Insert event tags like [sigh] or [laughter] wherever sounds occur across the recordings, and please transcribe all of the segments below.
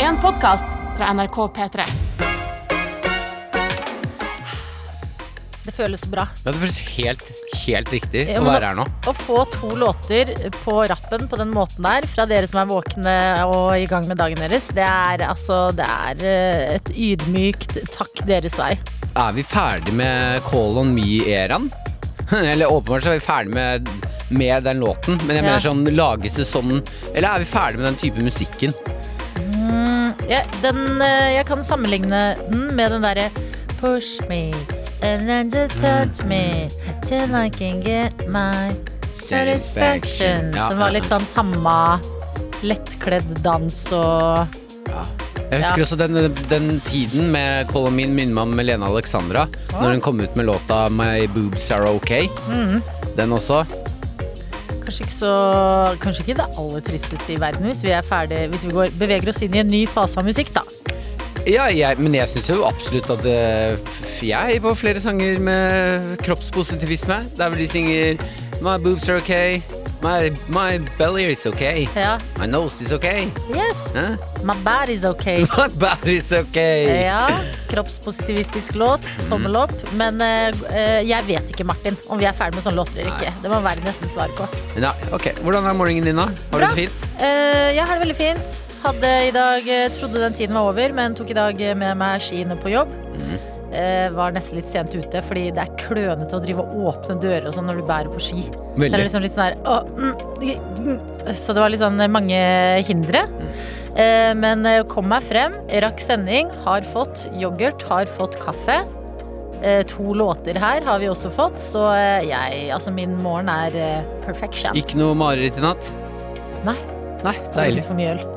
En podkast fra NRK P3. Det føles bra. Ja, det føles helt, helt riktig Ja, å men være her nå. Å få to låter på rappen på den måten der, fra dere som er våkne og i gang med dagen deres, det er altså Det er eh, et ydmykt takk deres vei. Er vi ferdig med Call On Me-æraen? [laughs] Eller åpenbart så er vi ferdig med, med den låten, men jeg Ja. mener sånn, lages det sånn Eller er vi ferdig med den type musikken? Mm, Ja, den, eh, jeg kan sammenligne den med den derre Push me and then just Mm. touch me till I can get my satisfaction. Ja, Som ja, var litt ja. sånn samme lettkledd dans og Jeg husker Ja. også den, den tiden med Call On Me minner meg om Melena Alexandra. Når hun kom ut med låta My Boobs Are OK. Mhm. Den også. Kanskje ikke, så, kanskje ikke det aller tristeste i verden hvis vi, er ferdig, hvis vi går, beveger oss inn i en ny fase av musikk, da. Ja, jeg, men jeg syns jo absolutt at eh, f- jeg på flere sanger med kroppspositivisme. Der hvor de synger My boobs are okay. My, my belly is okay. Ja. My nose is okay. Yes, Huh? my bad is okay. [laughs] My body is okay. Ja, kroppspositivistisk låt. Tommel opp. Men eh, eh, jeg vet ikke, Martin, om vi er ferdig med sånne låter eller ikke. Det må være nesten svar på. Men Ja, ok, Hvordan er morgenen din, da? Har du Bra. det fint? Eh, jeg har det veldig fint. Hadde i dag, eh, trodde den tiden var over, men tok i dag eh, med meg skiene på jobb. Eh, var nesten litt sent ute, fordi det er klønete å drive og åpne dører og sånn når du bærer på ski. Det er Veldig. liksom litt sånn her «Å, mm, g- mm». Så det var litt sånn mange hindre. Mm. Eh, Men eh, kom meg frem, rakk sending, har fått yoghurt, har fått kaffe. Eh, To låter her har vi også fått, så eh, jeg Altså, min morgen er eh, perfection. Ikke noe mareritt i natt? Nei. Nei, Det var Deilig. Litt for mye øl.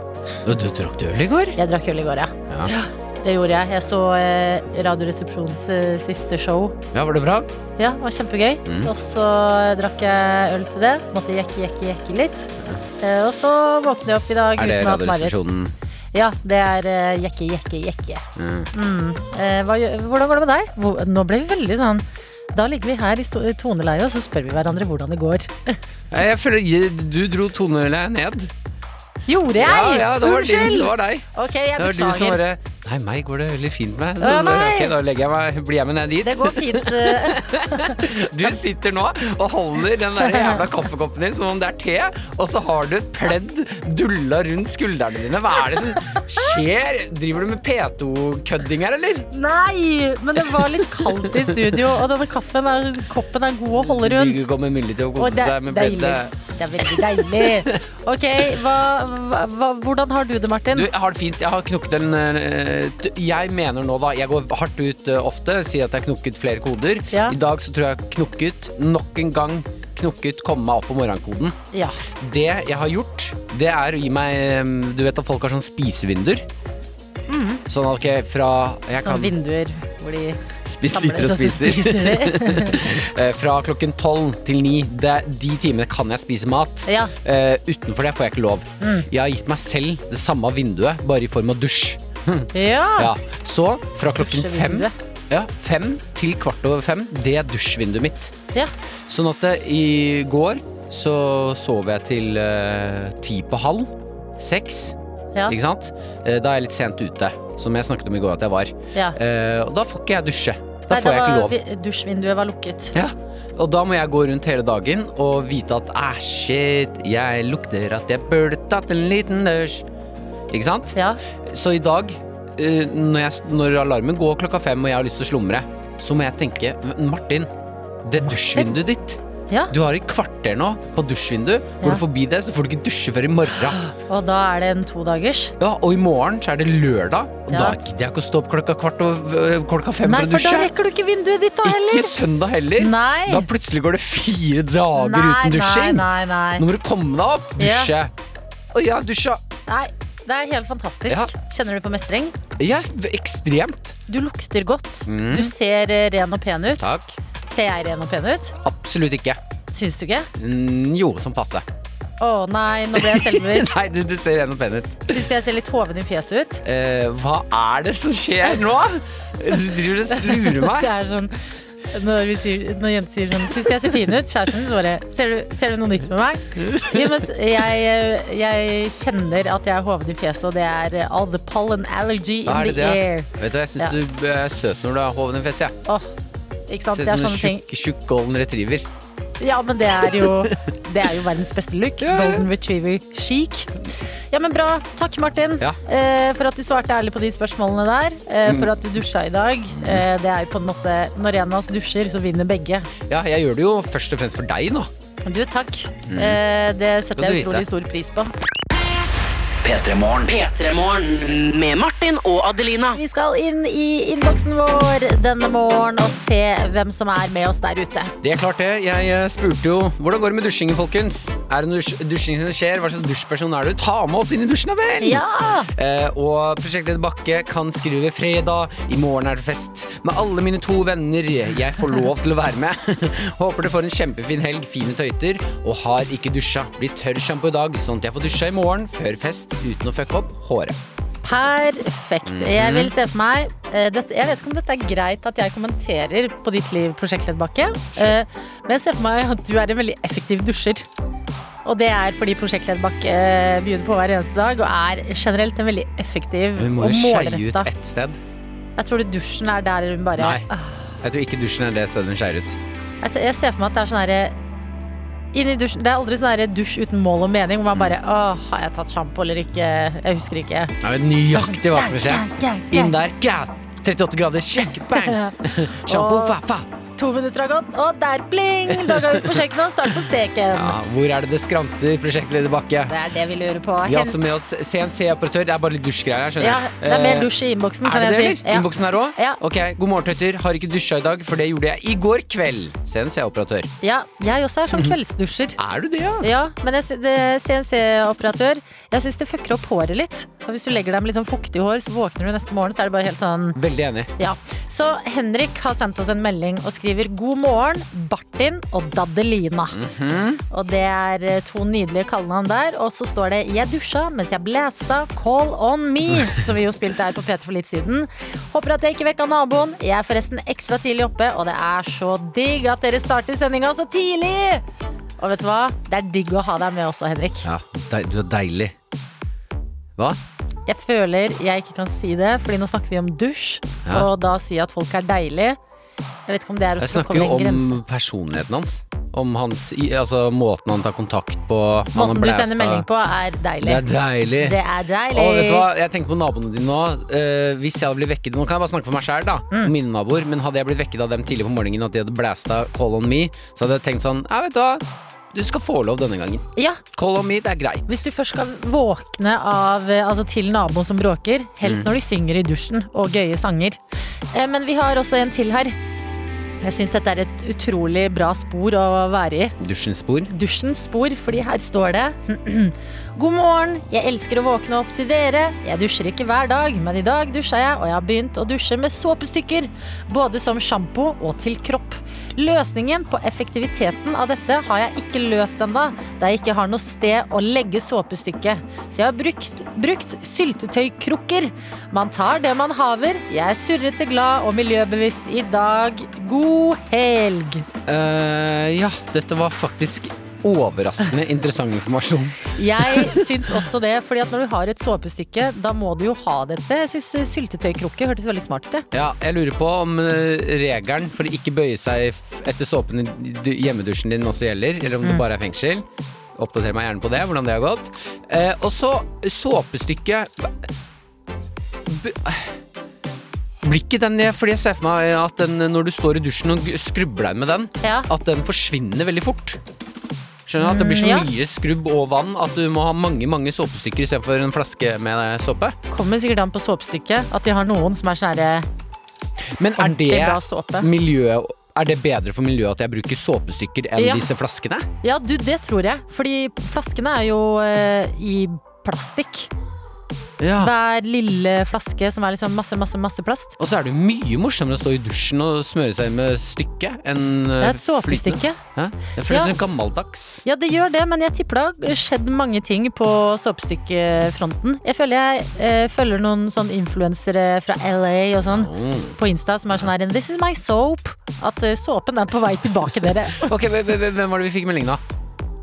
Du, du drakk du øl i går? Jeg drakk øl i går, ja. Ja. Det gjorde jeg. Jeg så eh, Radioresepsjonens eh, siste show. ja, Var det bra? Ja, det var kjempegøy. Mm. Og så drakk jeg øl til det. Måtte jekke, jekke, jekke litt. Eh, Og så våknet jeg opp i dag Er det uten å ha hatt mareritt. Radioresepsjonen? Ja, det er eh, jekke, jekke, jekke. Mm. Mm. Eh, hva, gjø- hvordan går det med deg? Hvor, nå ble vi veldig sånn Da ligger vi her i sto- toneleiet, og så spør vi hverandre hvordan det går. [laughs] Jeg føler du dro toneølet ned. Gjorde jeg? Ja, ja, det var din. Unnskyld! Det var deg. Ok, jeg Det var du som beklager. bare Nei, meg går det veldig fint med. Å, Så, nei. ok, da legger jeg meg, blir jeg med ned dit. Det går fint. eh, [laughs] Du sitter nå og holder den der jævla kaffekoppen din som om det er te, og så har du et pledd dulla rundt skuldrene dine. Hva er det som skjer? Driver du med P2-kødding her, eller? Nei! Men det var litt kaldt i studio, og denne kaffen er, koppen er god å holde rundt. Du kommer mulig til å Og kose det, seg med deilig. pleddet. det er veldig deilig. Ok, hva, hva, hva, hvordan har du det, Martin? Du, jeg har det fint. Jeg har knukket en eh, t- Jeg mener nå, da. Jeg går hardt ut eh, ofte. Sier at jeg har knukket flere koder. Ja. I dag så tror jeg jeg har knukket nok en gang. Knukket komme meg opp på morgenkoden. Ja. Det jeg har gjort, det er å gi meg eh, Du vet at folk har sånn spisevinduer? Sånn at ok, fra Mm. jeg Sånne kan sånn vinduer hvor de spise, samles, sitter og og så spiser. spiser de. [laughs] Eh, Fra klokken tolv til ni. Det- De timene kan jeg spise mat. Ja. Mm. Eh, utenfor det får jeg ikke lov. Jeg har gitt meg selv det samme vinduet, bare i form av dusj. Ja. Ja, Så fra klokken fem, Dusjevinduet. ja, fem til kvart over fem, det er dusjvinduet mitt. ja. Sånn at eh, i går så sov jeg til eh, ti på halv. Seks, Ja. ikke sant? Eh, da er jeg litt sent ute, som jeg snakket om i går at jeg var. ja. Eh, og da får ikke jeg dusje. Da Nei, det får jeg ikke var- lov. vi- Dusjvinduet var lukket. Ja, og da må jeg gå rundt hele dagen og vite at æh, shit, jeg lukter at jeg burde tatt en liten dusj. Ikke sant? Ja. Så i dag, eh, når, jeg, når alarmen går klokka fem og jeg har lyst til å slumre, så må jeg tenke Martin, det dusjvinduet ditt. ja. Du har et kvarter nå på dusjvindu. Går Ja. du forbi det, så får du ikke dusje før i morgen. Og da er det en todagers. Ja, og i morgen så er det lørdag, og Ja. da gidder jeg ikke å stå opp klokka kvart over øh, klokka fem Nei, for å for da dusje. rekker du ikke vinduet ditt da Ikke heller. søndag heller. Nei. Da plutselig går det fire dager Nei, uten dusjing. Nei, nei, Nå nei. må du komme deg opp, dusje. Og jeg har dusja. nei. Det er helt fantastisk. Ja. Kjenner du på mestring? Ja, ekstremt. Du lukter godt. Mm. Du ser eh, ren og pen ut. Takk. Ser jeg ren og pen ut? Absolutt ikke. Syns du ikke? Mm, jo, som [laughs] passe. Å nei, nå ble jeg [laughs] selvbevisst. Nei, du, du ser ren og pen ut. Syns du jeg ser litt hoven i fjeset ut? Eh, hva er det som skjer nå? Du driver og [laughs] lurer Det meg. er sånn når, vi sier, når jenter sier sånn Syns jeg ser fin ut? Kjæresten så bare ser du, ser du noe nytt med meg? Ja, men jeg, jeg kjenner at jeg er hoven i fjeset, og det er all the pollen allergy in Er det the det? air. Vet du, hva, Jeg syns Ja. du er søt når du har hoven i fjeset. jeg. Åh, ikke sant? Ser Det er ut som sånne en ting. tjukk, tjukk golden retriever. Ja, men det er jo, det er jo verdens beste look. Ja, ja. Golden retriever chic. Ja, men bra. Takk, Martin, Ja. Mm. eh, for at du svarte ærlig på de spørsmålene der. Eh, for at du dusja i dag. Eh, det er jo på en måte Når en av oss dusjer, så vinner begge. Ja, jeg gjør det jo først og fremst for deg nå. Du, takk. Eh, det Mm. Skal setter jeg du vite. utrolig stor pris på. P3morgen med Martin og Adelina. Vi skal inn i innboksen vår denne morgen og se hvem som er med oss der ute. Det er klart det. Jeg eh, spurte jo hvordan går det med dusjingen, folkens. Er det noe dusj dusjing som skjer? Hva slags dusjperson er du? Ta med oss inn i dusjen, da vel! Ja! Eh, og prosjektleder Bakke kan skrive fredag. I morgen er det fest med alle mine to venner. Jeg får lov til å være med. [laughs] Håper du får en kjempefin helg, fine tøyter og har ikke dusja. Blir tørr sjampo i dag, sånn at jeg får dusja i morgen før fest uten å fucke opp håret. Perfekt. Mm. Jeg vil se for meg eh, dette, Jeg vet ikke om dette er greit at jeg kommenterer på ditt liv, prosjektleddbakke. Eh, men jeg ser for meg at du er en veldig effektiv dusjer. Og det er fordi prosjektleddbakke eh, begynner på hver eneste dag og er generelt en veldig effektiv Vi og må jo skeie ut målretta. ett sted. Jeg tror du dusjen er der hun bare Nei. Ah, Jeg tror ikke dusjen er det stedet hun skeier ut. jeg, ser- jeg ser for meg at det er sånn herre inn i dusjen. Det er aldri sånn herre dusj uten mål og mening, hvor man bare Å, har jeg tatt sjampo eller ikke? Jeg husker ikke. Jeg vet nøyaktig hva som skjer. Inn der. Gæ! 38 grader. Sjekk. [laughs] Bang! Sjampo. Og- Fa, fa. To minutter har gått, og der bling! Da går vi ut på kjøkkenet og starter på steken. Ja, hvor er det det skranter, prosjektleder Bakke? Det er det vi lurer på. Vi Hen- har også med oss CNC-operatør. Det er bare litt dusjgreier her, skjønner ja, du. det er mer Eh, dusj i innboksen, Er kan det det, jeg eller? si. Ja. Innboksen her òg? Ja. Ok, god morgen, tøyter. Har ikke dusja i dag, for det gjorde jeg i går kveld. CNC-operatør. ja, jeg også er sånn kveldsdusjer. Er du det, ja? Ja, men jeg sy- det- CNC-operatør Jeg syns det fucker opp håret litt. Og hvis du legger deg med litt sånn fuktig hår, så våkner du neste morgen, så er det bare helt sånn Veldig enig. Ja. Så Henrik har sendt oss en melding og skriver 'God morgen, Bartin og Daddelina'. Og det er eh, to nydelige kallenavn der. Og så står det 'Jeg dusja mens jeg blæsta Call On Me', som vi jo spilte her på P3 for litt siden. Håper at jeg ikke vekka naboen. Jeg er forresten ekstra tidlig oppe, og det er så digg at dere starter sendinga så tidlig! Og vet du hva? Det er digg å ha deg med også, Henrik. Ja, dei- du er deilig. Hva? Jeg føler jeg ikke kan si det, Fordi nå snakker vi om dusj. Ja. Og da si at folk er deilig. Jeg vet ikke om det er å Jeg tråkke snakker jo over en grense. om personligheten hans. Om hans i- Altså måten han tar kontakt på. han har Måten du blæsta. sender melding på, er Det deilig. er deilig. Det er deilig. Og vet du hva, jeg tenker på naboene dine nå. Eh, hvis jeg hadde blitt vekket Nå kan jeg bare snakke for meg sjæl, da. Mm. Mine naboer. Men hadde jeg blitt vekket av dem tidlig på morgenen, at de hadde blæsta Call on me, så hadde jeg tenkt sånn Ja, vet du hva. Du skal få lov denne gangen. Ja, Call on me, det er greit. hvis du først skal våkne av, eh, altså til naboen som bråker, Mm. helst når de synger i dusjen og gøye sanger. Eh, Men vi har også en til her. Jeg syns dette er et utrolig bra spor å være i. Dusjens spor. dusjens spor, fordi her står det [clears throat] God morgen, jeg elsker å våkne opp til dere. Jeg dusjer ikke hver dag, men i dag dusja jeg, og jeg har begynt å dusje med såpestykker. Både som sjampo og til kropp. Løsningen på effektiviteten av dette har jeg ikke løst ennå, da jeg ikke har noe sted å legge såpestykket. Så jeg har brukt, brukt syltetøykrukker. Man tar det man haver. Jeg er surrete glad og miljøbevisst i dag. God helg! Eh, ja, dette var faktisk overraskende [laughs] interessant informasjon. Jeg syns også det, fordi at når du har et såpestykke, da må du jo ha det et sted. Jeg syns syltetøykrukke hørtes veldig smart ut. det. Ja, jeg lurer på om eh, regelen for å ikke bøye seg f- etter såpen i du- hjemmedusjen din også gjelder, eller Mm. om det bare er fengsel. Oppdater meg gjerne på det, hvordan det har gått. Eh, og så såpestykke B- Blir ikke den jeg- Fordi jeg ser for meg at den, når du står i dusjen og g- skrubber deg med den, Ja. at den forsvinner veldig fort. Skjønner du? At det blir så Mm, ja. mye skrubb og vann at du må ha mange mange såpestykker istedenfor en flaske med eh, såpe. Kommer sikkert an på såpestykket, at de har noen som er sånn herre Men er Ordentlig bra det såpe. miljø Er det bedre for miljøet at jeg bruker såpestykker enn Ja. disse flaskene? Ja, du, det tror jeg. Fordi flaskene er jo eh, i plastikk. Ja. Hver lille flaske som er liksom masse, masse, masse plast. Og så er det jo mye morsommere å stå i dusjen og smøre seg med stykke enn eh, Det er et såpestykke. Hæ? Det føles Ja. som gammeldags. Ja, det gjør det, men jeg tipper det har skjedd mange ting på såpestykkefronten. Jeg føler jeg eh, følger noen sånn influensere fra LA og sånn på Insta som er sånn her This is my soap. At eh, såpen er på vei tilbake, dere. Ok, hvem- hvem hvem var det vi fikk melding av?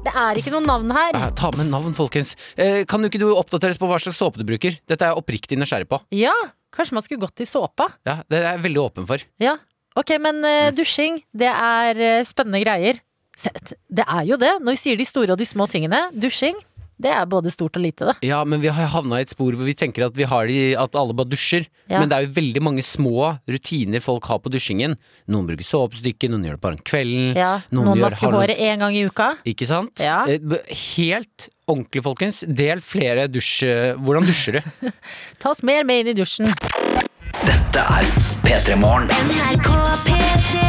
Det er ikke noe navn her. Eh, Ta med navn, folkens. Eh, Kan du ikke du oppdateres på hva slags såpe du bruker? Dette er jeg oppriktig nysgjerrig på. Ja, kanskje man skulle gått i såpa. Ja, det er jeg veldig åpen for. Ja, ok, men eh, dusjing, det er eh, spennende greier. Se, Det er jo det, når vi sier de store og de små tingene. Dusjing, det er både stort og lite, det. Ja, men vi har havna i et spor hvor vi tenker at, vi har de, at alle bare dusjer. Ja. Men det er jo veldig mange små rutiner folk har på dusjingen. Noen bruker såpestykke, noen gjør det bare om kvelden. Ja, noen, gjør- vasker har noen- håret én gang i uka. Ikke sant? Ja. Eh, b- Helt ordentlig, folkens. Del flere dusj... eh, Hvordan dusjer du? [laughs] Ta oss mer med inn i dusjen. Dette er P3 Morgen. NRK P3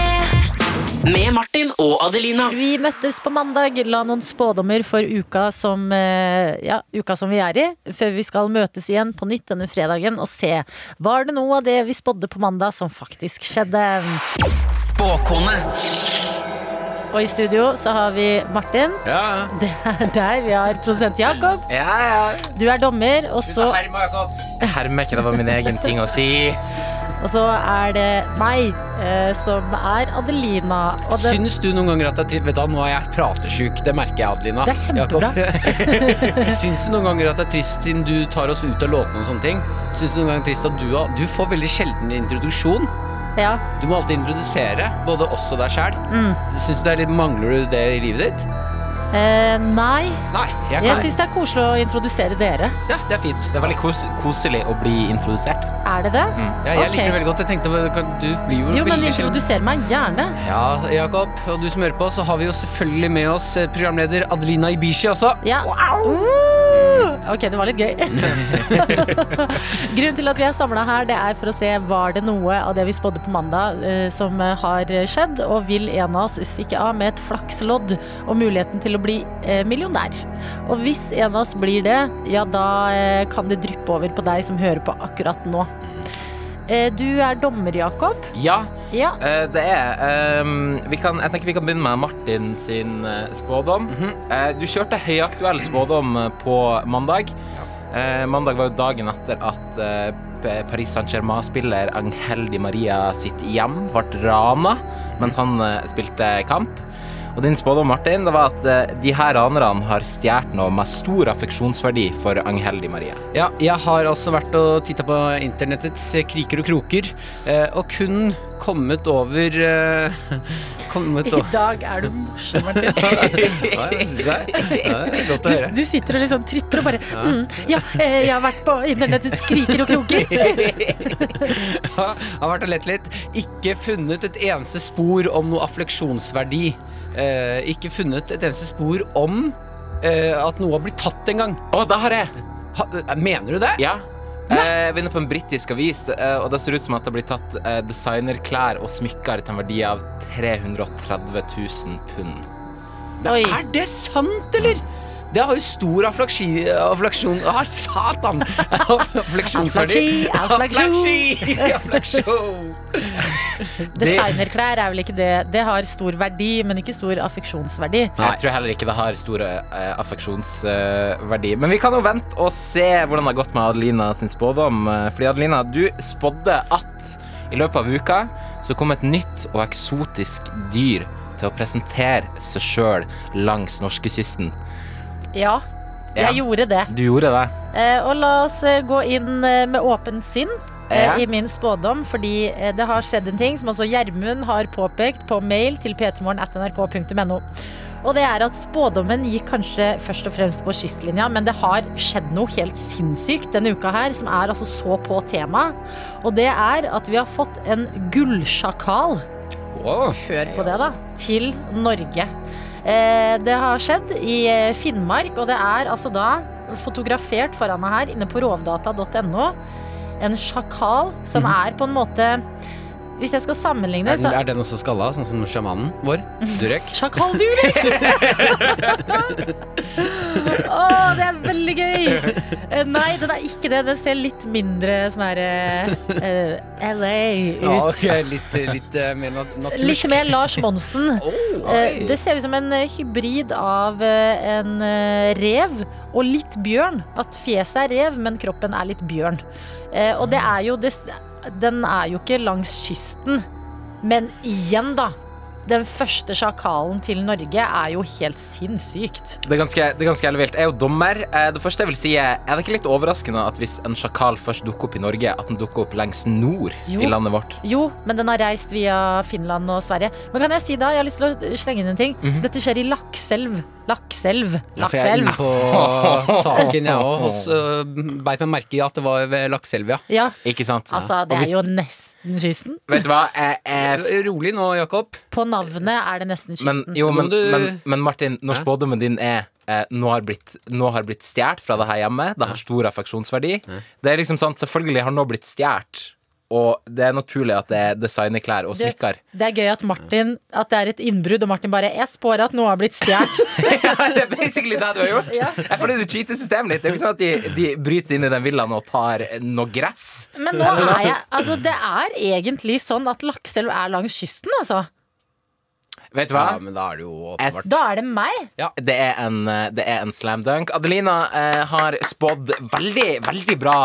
Med Martin og Adelina. Vi møttes på mandag, la noen spådommer for uka som, eh, ja, uka som vi er i, før vi skal møtes igjen på nytt denne fredagen og se var det noe av det vi spådde på mandag som faktisk skjedde. Spåkone. Og i studio så har vi Martin, [laughs] Ja, det er deg, vi har produsent Jakob, Ja, ja. du er dommer, og så, Jeg hermer ikke, det var min egen ting å si. og så er det meg eh, som er Adelina. Og det, Syns du noen ganger at det er trist Vet du, hva, nå er jeg pratersjuk, det merker jeg, Adelina. Det er kjempebra. Jakob. [laughs] Syns du noen ganger at det er trist siden du tar oss ut av låtene og sånne ting? Syns du noen ganger trist at du har Du får veldig sjelden introduksjon. ja, Du må alltid introdusere både oss og deg sjæl. Mm. Syns du det er litt Mangler du det i livet ditt? eh, nei, Nei, jeg jeg kan syns det er koselig å introdusere dere. Ja, det er fint. Det er veldig kos koselig å bli introdusert. Er det det? Ja, jeg Ok. liker det veldig godt. Jeg tenkte kan- Du blir jo Jo, men Mm. veldig sjelden introduser meg gjerne. Ja, Jakob, og du som hører på, så har vi jo selvfølgelig med oss eh, programleder Adelina Ibishi også. Ja. Uh, Ok, det var litt gøy. [laughs] Grunnen til at vi er samla her, det er for å se var det noe av det vi spådde på mandag eh, som eh, har skjedd, og vil en av oss stikke av med et flakslodd og muligheten til å bli eh, millionær. Og hvis en av oss blir det, ja da eh, kan det dryppe over på deg som hører på akkurat nå. Mm. Eh, Du er dommer, Jakob. Ja, Ja. eh, det er ehm, vi kan, Jeg tenker vi kan begynne med Martin sin eh, spådom. Eh, Du kjørte høyaktuell spådom eh, på mandag. Eh, Mandag var jo dagen etter at eh, P- Paris Saint-Germain-spiller Angel Di Maria sitt hjem ble rana mens han eh, spilte kamp. Og din spådom, Martin, det var at eh, de her ranerne har stjålet noe med stor affeksjonsverdi for Angel Di Maria. Ja, jeg har altså vært og titta på internettets kriker og kroker, eh, og kun kommet over eh, [laughs] [laughs] Kommet I over dag er du morsom, Martin. Godt å Du, høre. du sitter og liksom tripper og bare mm, Ja, eh, jeg har vært på internettets kriker og [laughs] kroker. Har vært og lett litt. Ikke funnet et eneste spor om noe affleksjonsverdi. Eh, ikke funnet et eneste spor om eh, at noe har blitt tatt en gang. [laughs] Å, det har jeg! Ha, mener du det? Ja. Eh, vinner på en britisk avis, eh, og det ser ut som at det blir tatt eh, designerklær og smykker til en verdi av 330 000 pund. Oi. Er det sant, eller? Det har jo stor afflaksi... afflaksjon... [laughs] Ah, satan! Affleksjonsverdi. Afflaksi, afflaksjon. Afflaksi, afflaksjon. [laughs] Designerklær er vel ikke det. Det har stor verdi, men ikke stor affeksjonsverdi. Jeg tror heller ikke det har stor eh, affeksjonsverdi. Men vi kan jo vente og se hvordan det har gått med Adelina sin spådom. eh, Fordi Adelina, du spådde at i løpet av uka så kom et nytt og eksotisk dyr til å presentere seg sjøl langs norskekysten. Ja, Ja. jeg gjorde det. Du gjorde det. Eh, Og la oss eh, gå inn eh, med åpent sinn eh, Ja. i min spådom, fordi eh, det har skjedd en ting som også Gjermund har påpekt på mail til p3morgen.nrk.no. Og det er at spådommen gikk kanskje først og fremst på kystlinja, men det har skjedd noe helt sinnssykt denne uka her, som er altså så på temaet. Og det er at vi har fått en gullsjakal Wow. hør på det, da. Til Norge. Eh, det har skjedd i eh, Finnmark, og det er altså da fotografert foran meg Mhm. her inne på rovdata.no. En sjakal som er på en måte Hvis jeg skal sammenligne, Er, den- så er den også skalla, sånn som sjamanen vår? Durek? Sjakal, [laughs] du! Å, det er veldig gøy! Eh, Nei, den er ikke det. Den ser litt mindre sånn her eh, eh, LA Ja, ut. ok, litt, litt eh, mer nat natursk. Litt mer Lars Monsen. Oh, Eh, oi. Det ser ut som en eh, hybrid av eh, en eh, rev og litt bjørn. At fjeset er rev, men kroppen er litt bjørn. Eh, Og det Mm. er jo det, Den er jo ikke langs kysten. Men igjen, da. Den første sjakalen til Norge er jo helt sinnssykt. Det er ganske, det er ganske jævlig vilt. Jeg er jo dommer. Eh, Det første jeg vil si Er er det ikke litt overraskende at hvis en sjakal først dukker opp i Norge, at den dukker opp lengst nord Jo. i landet vårt? Jo, men den har reist via Finland og Sverige. Men kan jeg si da, jeg har lyst til å eh, slenge inn en ting. Dette skjer i Lakselv. Lakselv. Mhm. For jeg Lakselv. er inne [laughs] på saken, jeg òg. Og så beit meg merke i at det var ved Lakselvia. Ja, Ikke sant? altså, det er jo nesten kysten. Vet du hva? Jeg, jeg, Rolig nå, Jakob. På navnet er det nesten kysten. men, jo, men, Må du- men, men Martin, når Hæ? spådommen din er eh, nå har blitt, nå har blitt stjålet fra det her hjemme, det har stor affeksjonsverdi Det er liksom sant, Selvfølgelig har nå blitt stjålet, og det er naturlig at det er designerklær og Du, smykker. [laughs] det er gøy at Martin At det er et innbrudd, og Martin bare 'Jeg spår at noe har blitt [laughs] stjålet'. Ja, det er basically det du har gjort. Ja. Jeg føler du cheater systemet litt. Det er jo ikke sånn at de, de bryter seg inn i den villaen og tar noe gress. Men nå er jeg Altså, det er egentlig sånn at Lakselv er langs kysten, altså. Vet du hva? Ja, men da er det jo åpenbart. Da er det meg. Det er en, eh, det er en slam dunk. Adelina eh, har spådd veldig, veldig bra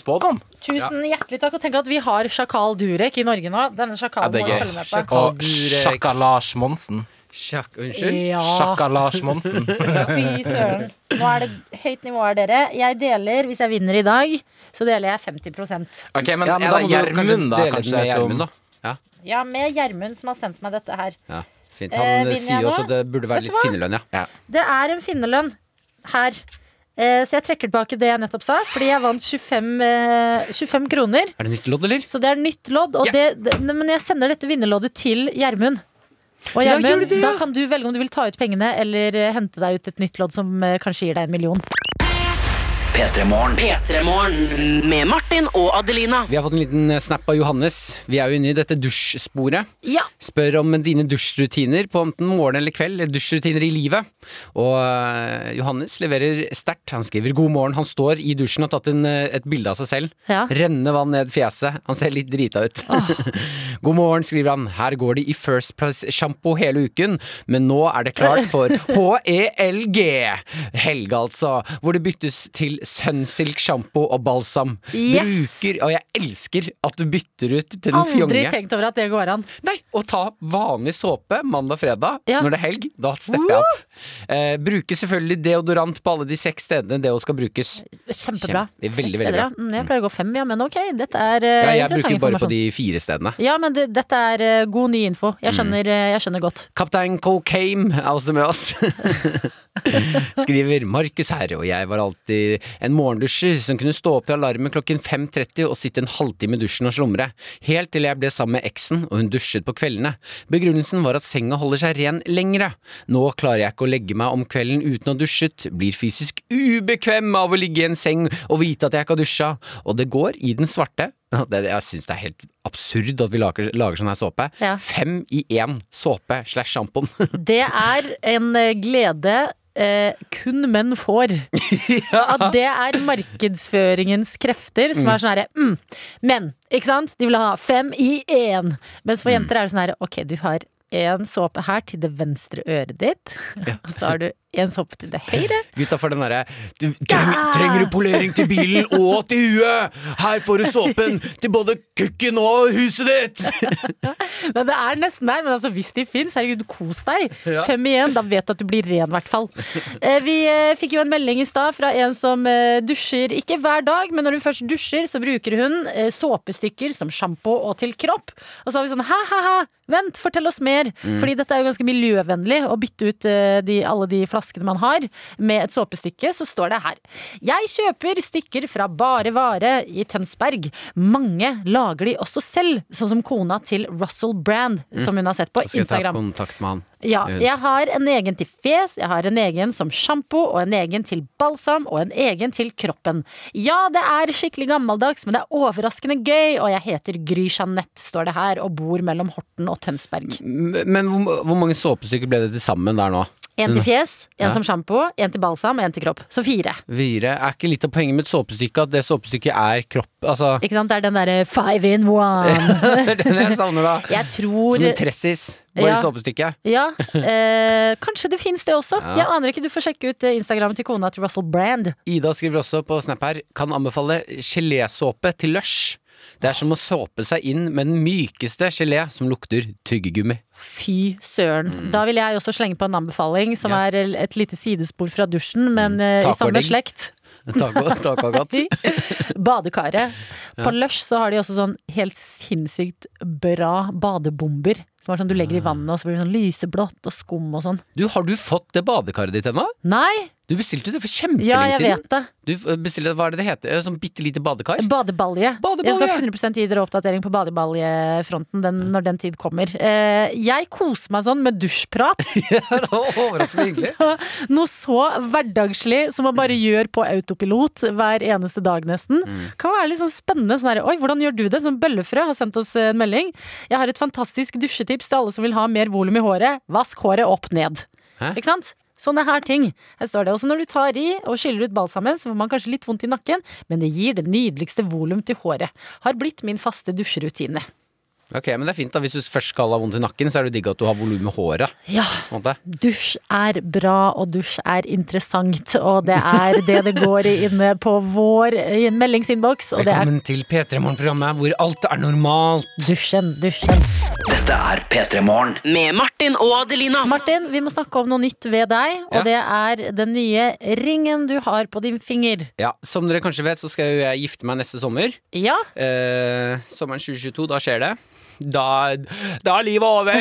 spådom. Tusen hjertelig takk. Og tenk at vi har sjakal Durek i Norge nå. Denne Ja, sjakalen det må er du gøy. følge med på. Sjakal Og Durek. sjakka Lars Monsen. Sjakk, unnskyld? Ja, Sjakka Lars Monsen. fy søren. Nå er det høyt nivå her, dere. Jeg deler, hvis jeg vinner i dag, så deler jeg 50 [laughs] Ok, men, Ja, men da er må det du Gjermund, da? dele den Kanskje, med Gjermund, [laughs] som da. Ja, Ja, med Gjermund, som har sendt meg dette her. ja. Fint. Eh, Han eh, vinner jeg sier jo også nå? at det burde være Vet du litt hva? finnerlønn, ja. Det er en finnerlønn her. Eh, Så jeg trekker tilbake det jeg nettopp sa, fordi jeg vant 25, eh, 25 kroner. Er det nytt lodd, eller? Så det er nytt lodd. Og det, det, ne, men jeg sender dette vinnerloddet til Gjermund. Og Ja, Gjermund, gjør det, da ja. kan du velge om du vil ta ut pengene eller eh, hente deg ut et nytt lodd som eh, kanskje gir deg en million. P3-morgen med Martin og Adelina. Vi har fått en liten snap av Johannes. Vi er jo inne i dette dusjsporet. Ja. Spør om dine dusjrutiner på enten morgen eller kveld. Dusjrutiner i livet. Og eh, Johannes leverer sterkt. Han skriver 'god morgen'. Han står i dusjen og har tatt en, eh, et bilde av seg selv. Ja. Rennende vann ned fjeset. Han ser litt drita ut. [laughs] God morgen, skriver han. Her går det i First Price-sjampo hele uken, men nå er det klart for HELG. Helge, altså. Hvor det byttes til Sunsilk-sjampo og balsam. Yes. Bruker, og jeg elsker at du bytter ut til den Aldri fjonge. tenkt over at det går an. Nei, å ta vanlig såpe mandag-fredag Ja. når det er helg. Da stepper jeg opp. Eh, bruker selvfølgelig deodorant på alle de seks stedene det skal brukes. Kjempebra. Kjempe- Seks veldig, veldig steder, bra. ja. Mm, Jeg pleier å gå fem, ja, men ok. Dette er eh, Ja, jeg interessant bruker bare på informasjon. de Mm. fire stedene. Ja, men det, dette er eh, god ny info. Jeg skjønner, eh, jeg skjønner godt. Kaptein Cocaine er også med oss. [laughs] Skriver Markus her, og jeg var alltid en morgendusjer som kunne stå opp til alarmen klokken 5.30 og sitte en halvtime i dusjen og slumre. Helt til jeg ble sammen med eksen, og hun dusjet på kveldene. Begrunnelsen var at senga holder seg ren lengre. Nå klarer jeg ikke å legge meg om kvelden uten å ha dusjet, blir fysisk ubekvem av å ligge i en seng og vite at jeg ikke har dusja, og det går i den svarte. Det, jeg syns det er helt absurd at vi lager, lager sånn her såpe. Ja. Fem i én såpe slash [laughs] sjampoen. Det er en eh, glede eh, kun menn får. At det er markedsføringens krefter som er sånn herre mm, Men, ikke sant? De vil ha fem i én. Mens for jenter er det sånn herre ok, du har én såpe her til det venstre øret ditt. Og så har du én såpe til det høyre. Gutta får den derre du, treng, 'Trenger du polering til bilen og til huet? Her får du såpen til både kukken og [laughs] huset ditt!' Men det er nesten der. Men altså, hvis de fins, herregud, kos deg. Fem igjen, da vet du at du blir ren, i hvert fall. Eh, Vi eh, fikk jo en melding i stad fra en som eh, dusjer ikke hver dag, men når hun først dusjer, så bruker hun eh, såpestykker som sjampo og til kropp. Og så har vi sånn ha-ha-ha, vent, fortell oss mer. Mm. Fordi dette er jo ganske miljøvennlig å bytte ut eh, de, alle de flaskene man har med et såpestykke. Så står det her. Jeg kjøper stykker fra Bare Vare i Tønsberg. Mange lager de også selv, sånn som kona til Russell Brand, som hun har sett på Mm. Skal jeg ta Instagram. kontakt med han? Ja, jeg har en egen til fjes, jeg har en egen som sjampo, og en egen til balsam, og en egen til kroppen. Ja, det er skikkelig gammeldags, men det er overraskende gøy, og jeg heter Gry Jeanette, står det her, og bor mellom Horten og Tønsberg. M- Men hvor, hvor mange såpestykker ble det til sammen der nå? En til fjes, en Ja. som sjampo, en til balsam, og en til kropp. Så fire. Vire, er ikke litt av poenget med et såpestykke at det såpestykket er kropp Altså, [laughs] Ikke sant? Det er den derre five in one. det er den [laughs] jeg savner da. [laughs] Jeg tror Som en tressis, bare Ja. såpestykke. Ja, eh, kanskje det fins det også. Ja. Jeg aner ikke, Du får sjekke ut eh, Instagrammen til kona til Russell Brand. Ida skriver også på Snap her Kan anbefale gelésåpe til lush Det er som å såpe seg inn med den mykeste gelé Som lukter tyggegummi [laughs] Fy søren. Da vil jeg også slenge på en anbefaling, som Mm. Ja. Mm. er el- et lite sidespor fra dusjen, men eh, Takk i for samme deg. slekt. Takk og takk og [laughs] godt [laughs] Badekaret. På Lush så har de også sånn helt sinnssykt bra badebomber. Som er sånn du Ah. legger i vannet, og så blir det sånn lyseblått og skum og sånn. Du, har du fått det badekaret ditt ennå? Nei! Du bestilte det for kjempelenge Ja, jeg siden vet det. Du f- bestilte, hva er det det heter? Er det Sånn bittelite badekar? Badebalje. Badebalje. Jeg skal 100 gi dere oppdatering på badebaljefronten den, når den tid kommer. Eh, jeg koser meg sånn med dusjprat. det var [laughs] overraskende hyggelig [laughs] Noe så hverdagslig som man bare gjør på autopilot hver eneste dag, nesten. Kan være litt sånn spennende. Sånn her, Oi, hvordan gjør du det? Som Bøllefrø har sendt oss eh, en melding. Jeg har et fantastisk dusjetips til alle som vil ha mer volum i håret. Vask håret opp ned. Hæ? Ikke sant? Sånne her ting. Her står det også når du tar i og skyller ut balsamen, så får man kanskje litt vondt i nakken, men det gir det nydeligste volum til håret. Har blitt min faste dusjerutine. Ok, men det er fint da Hvis du først skal ha vondt i nakken Så er det jo digg at du har volum i håret Ja, på en måte. Dusj er bra, og dusj er interessant. Og det er det det går i inne på vår eh, meldingsinnboks, og det er Velkommen til P3 Morgen-programmet Hvor alt er normalt dusjen, dusjen. Dette er P3 Morgen. Med Martin og Adelina. Martin, vi må snakke om noe nytt ved deg, Ja. og det er den nye ringen du har på din finger. Ja, som dere kanskje vet Så skal jo jeg gifte meg neste sommer Ja, Eh, sommeren 2022, da skjer det. Da, da er livet over!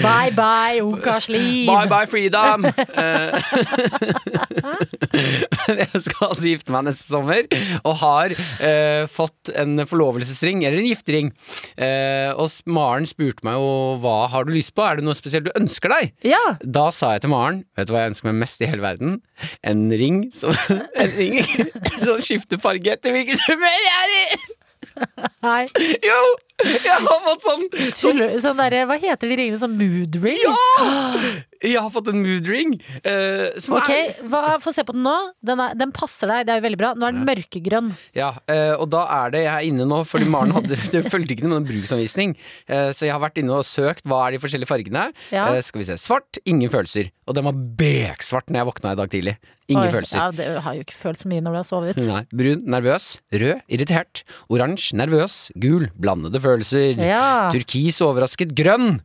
bye bye, ungkarsliv. Bye bye freedom! [laughs] Eh, Men jeg skal altså gifte meg neste sommer, og har eh, fått en forlovelsesring, eller en giftering. Eh, og s- Maren spurte meg jo hva har du lyst på, er det noe spesielt du ønsker deg? Ja, Da sa jeg til Maren Vet du hva jeg ønsker meg mest i hele verden? En ring som, [laughs] en ring, som skifter farge etter hvilket humør jeg er i! [laughs] nei. [laughs] Jo! Jeg har fått sånn Tuller- Sånn derre, hva heter de ringene? Sånn mood ring? Jeg har fått en mood ring. eh, som Ok, er, hva, få se på den nå. Den, er, den passer deg, det er jo veldig bra. Nå er den mørkegrønn. ja, eh, og da er det jeg er inne nå, fordi Maren hadde, [laughs] det fulgte ikke noen sånn bruksanvisning. Eh, så jeg har vært inne og søkt hva er de forskjellige fargene. Ja. Eh, skal vi se. Svart, ingen følelser. Og den var beksvart når jeg våkna i dag tidlig. Ingen Oi, følelser. Ja, det har jo ikke følt så mye når du har sovet. Nei, brun, nervøs. Rød, irritert. Oransje, nervøs. Gul, blandede følelser. Ja. Turkis, overrasket. Grønn!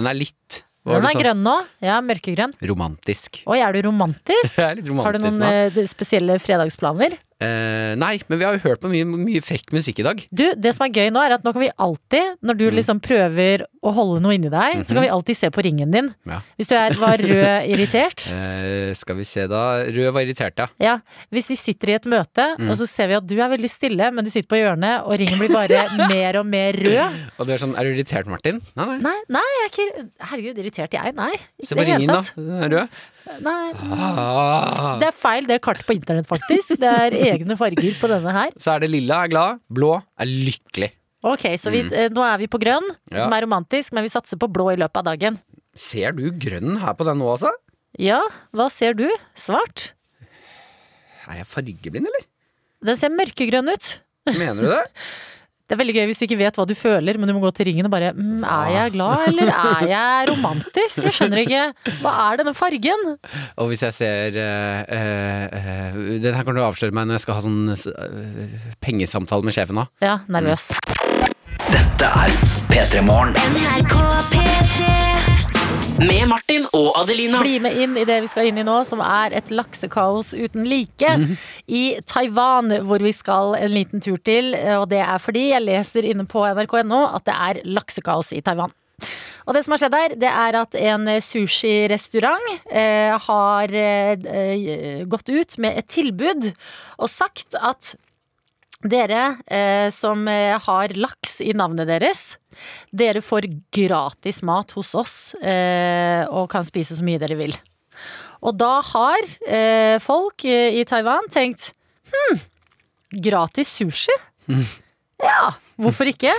Den er litt hva Den var det er du sa? grønn nå. Ja, mørkegrønn. Romantisk. Oi, er du romantisk? Jeg er litt [laughs] romantisk Har du noen nå. eh, spesielle fredagsplaner? Eh, nei, men vi har jo hørt på mye, mye frekk musikk i dag. Du, det som er gøy nå, er at nå kan vi alltid, når du Mm. liksom prøver å holde noe inni deg, så kan vi alltid se på ringen din. Mhm. Ja. Hvis du er, var [laughs] rød irritert. Eh, skal vi se, da. Rød var irritert, ja. Ja, Hvis vi sitter i et møte, Mm. og så ser vi at du er veldig stille, men du sitter på hjørnet, og ringen blir [laughs] bare mer og mer rød. Og du er sånn, er du irritert, Martin? Nei, nei. Nei, nei, jeg er ikke Herregud, irritert jeg? Nei. Ikke Se i det på hele ringen, da. tatt. Den er rød. Nei. Ah. Det er feil, det er kartet på internett, faktisk. Det [laughs] er egne farger på denne her. Så er det lilla er glad, blå er lykkelig. Ok, så vi, eh, nå er vi på grønn, Ja. som er romantisk, men vi satser på blå i løpet av dagen. Ser du grønn her på den nå, altså? Ja, hva ser du? Svart? Er jeg fargeblind, eller? Den ser mørkegrønn ut. Mener du det? Det er veldig gøy hvis du ikke vet hva du føler, men du må gå til ringen og bare mm, Er jeg glad, eller er jeg romantisk? Jeg skjønner ikke. Hva er denne fargen? [laughs] Og hvis jeg ser eh, eh, eh, Den her kan du avsløre meg når jeg skal ha sånn eh, pengesamtale med sjefen nå. Ja, nervøs. Dette er P3 Morgen. NRK P3 Med Martin og Adelina. Bli med inn i det vi skal inn i nå, som er et laksekaos uten like. I Taiwan, hvor vi skal en liten tur til. Og det er fordi jeg leser inne på nrk.no at det er laksekaos i Taiwan. Og det som har skjedd der, det er at en sushirestaurant eh, har eh, eh, gått ut med et tilbud og sagt at Dere eh, som eh, har laks i navnet deres, dere får gratis mat hos oss eh, og kan spise så mye dere vil. Og da har eh, folk eh, i Taiwan tenkt hm, gratis sushi? Ja, hvorfor ikke?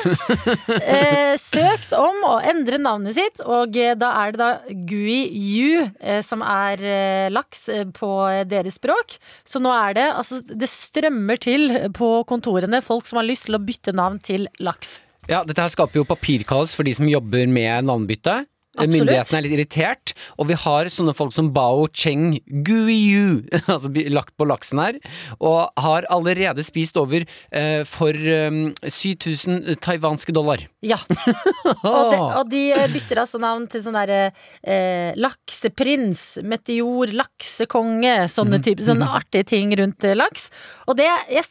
Eh, søkt om å endre navnet sitt, og eh, da er det da Gui Yu eh, som er eh, laks eh, på eh, deres språk. Så nå er det altså Det strømmer til på kontorene folk som har lyst til å bytte navn til laks. Ja, dette her skaper jo papirkaos for de som jobber med navnbytte. Eh, Absolutt. Myndighetene er litt irritert, og vi har sånne folk som Bao Cheng Guiyu, [laughs] altså bi- lagt på laksen her, og har allerede spist over eh, for eh, 7000 taiwanske dollar. Ja. Og de, og de eh, bytter altså navn til sånn derre eh, lakseprins, meteor, laksekonge, sånne, type, sånne artige ting rundt eh, laks. Og det, jeg,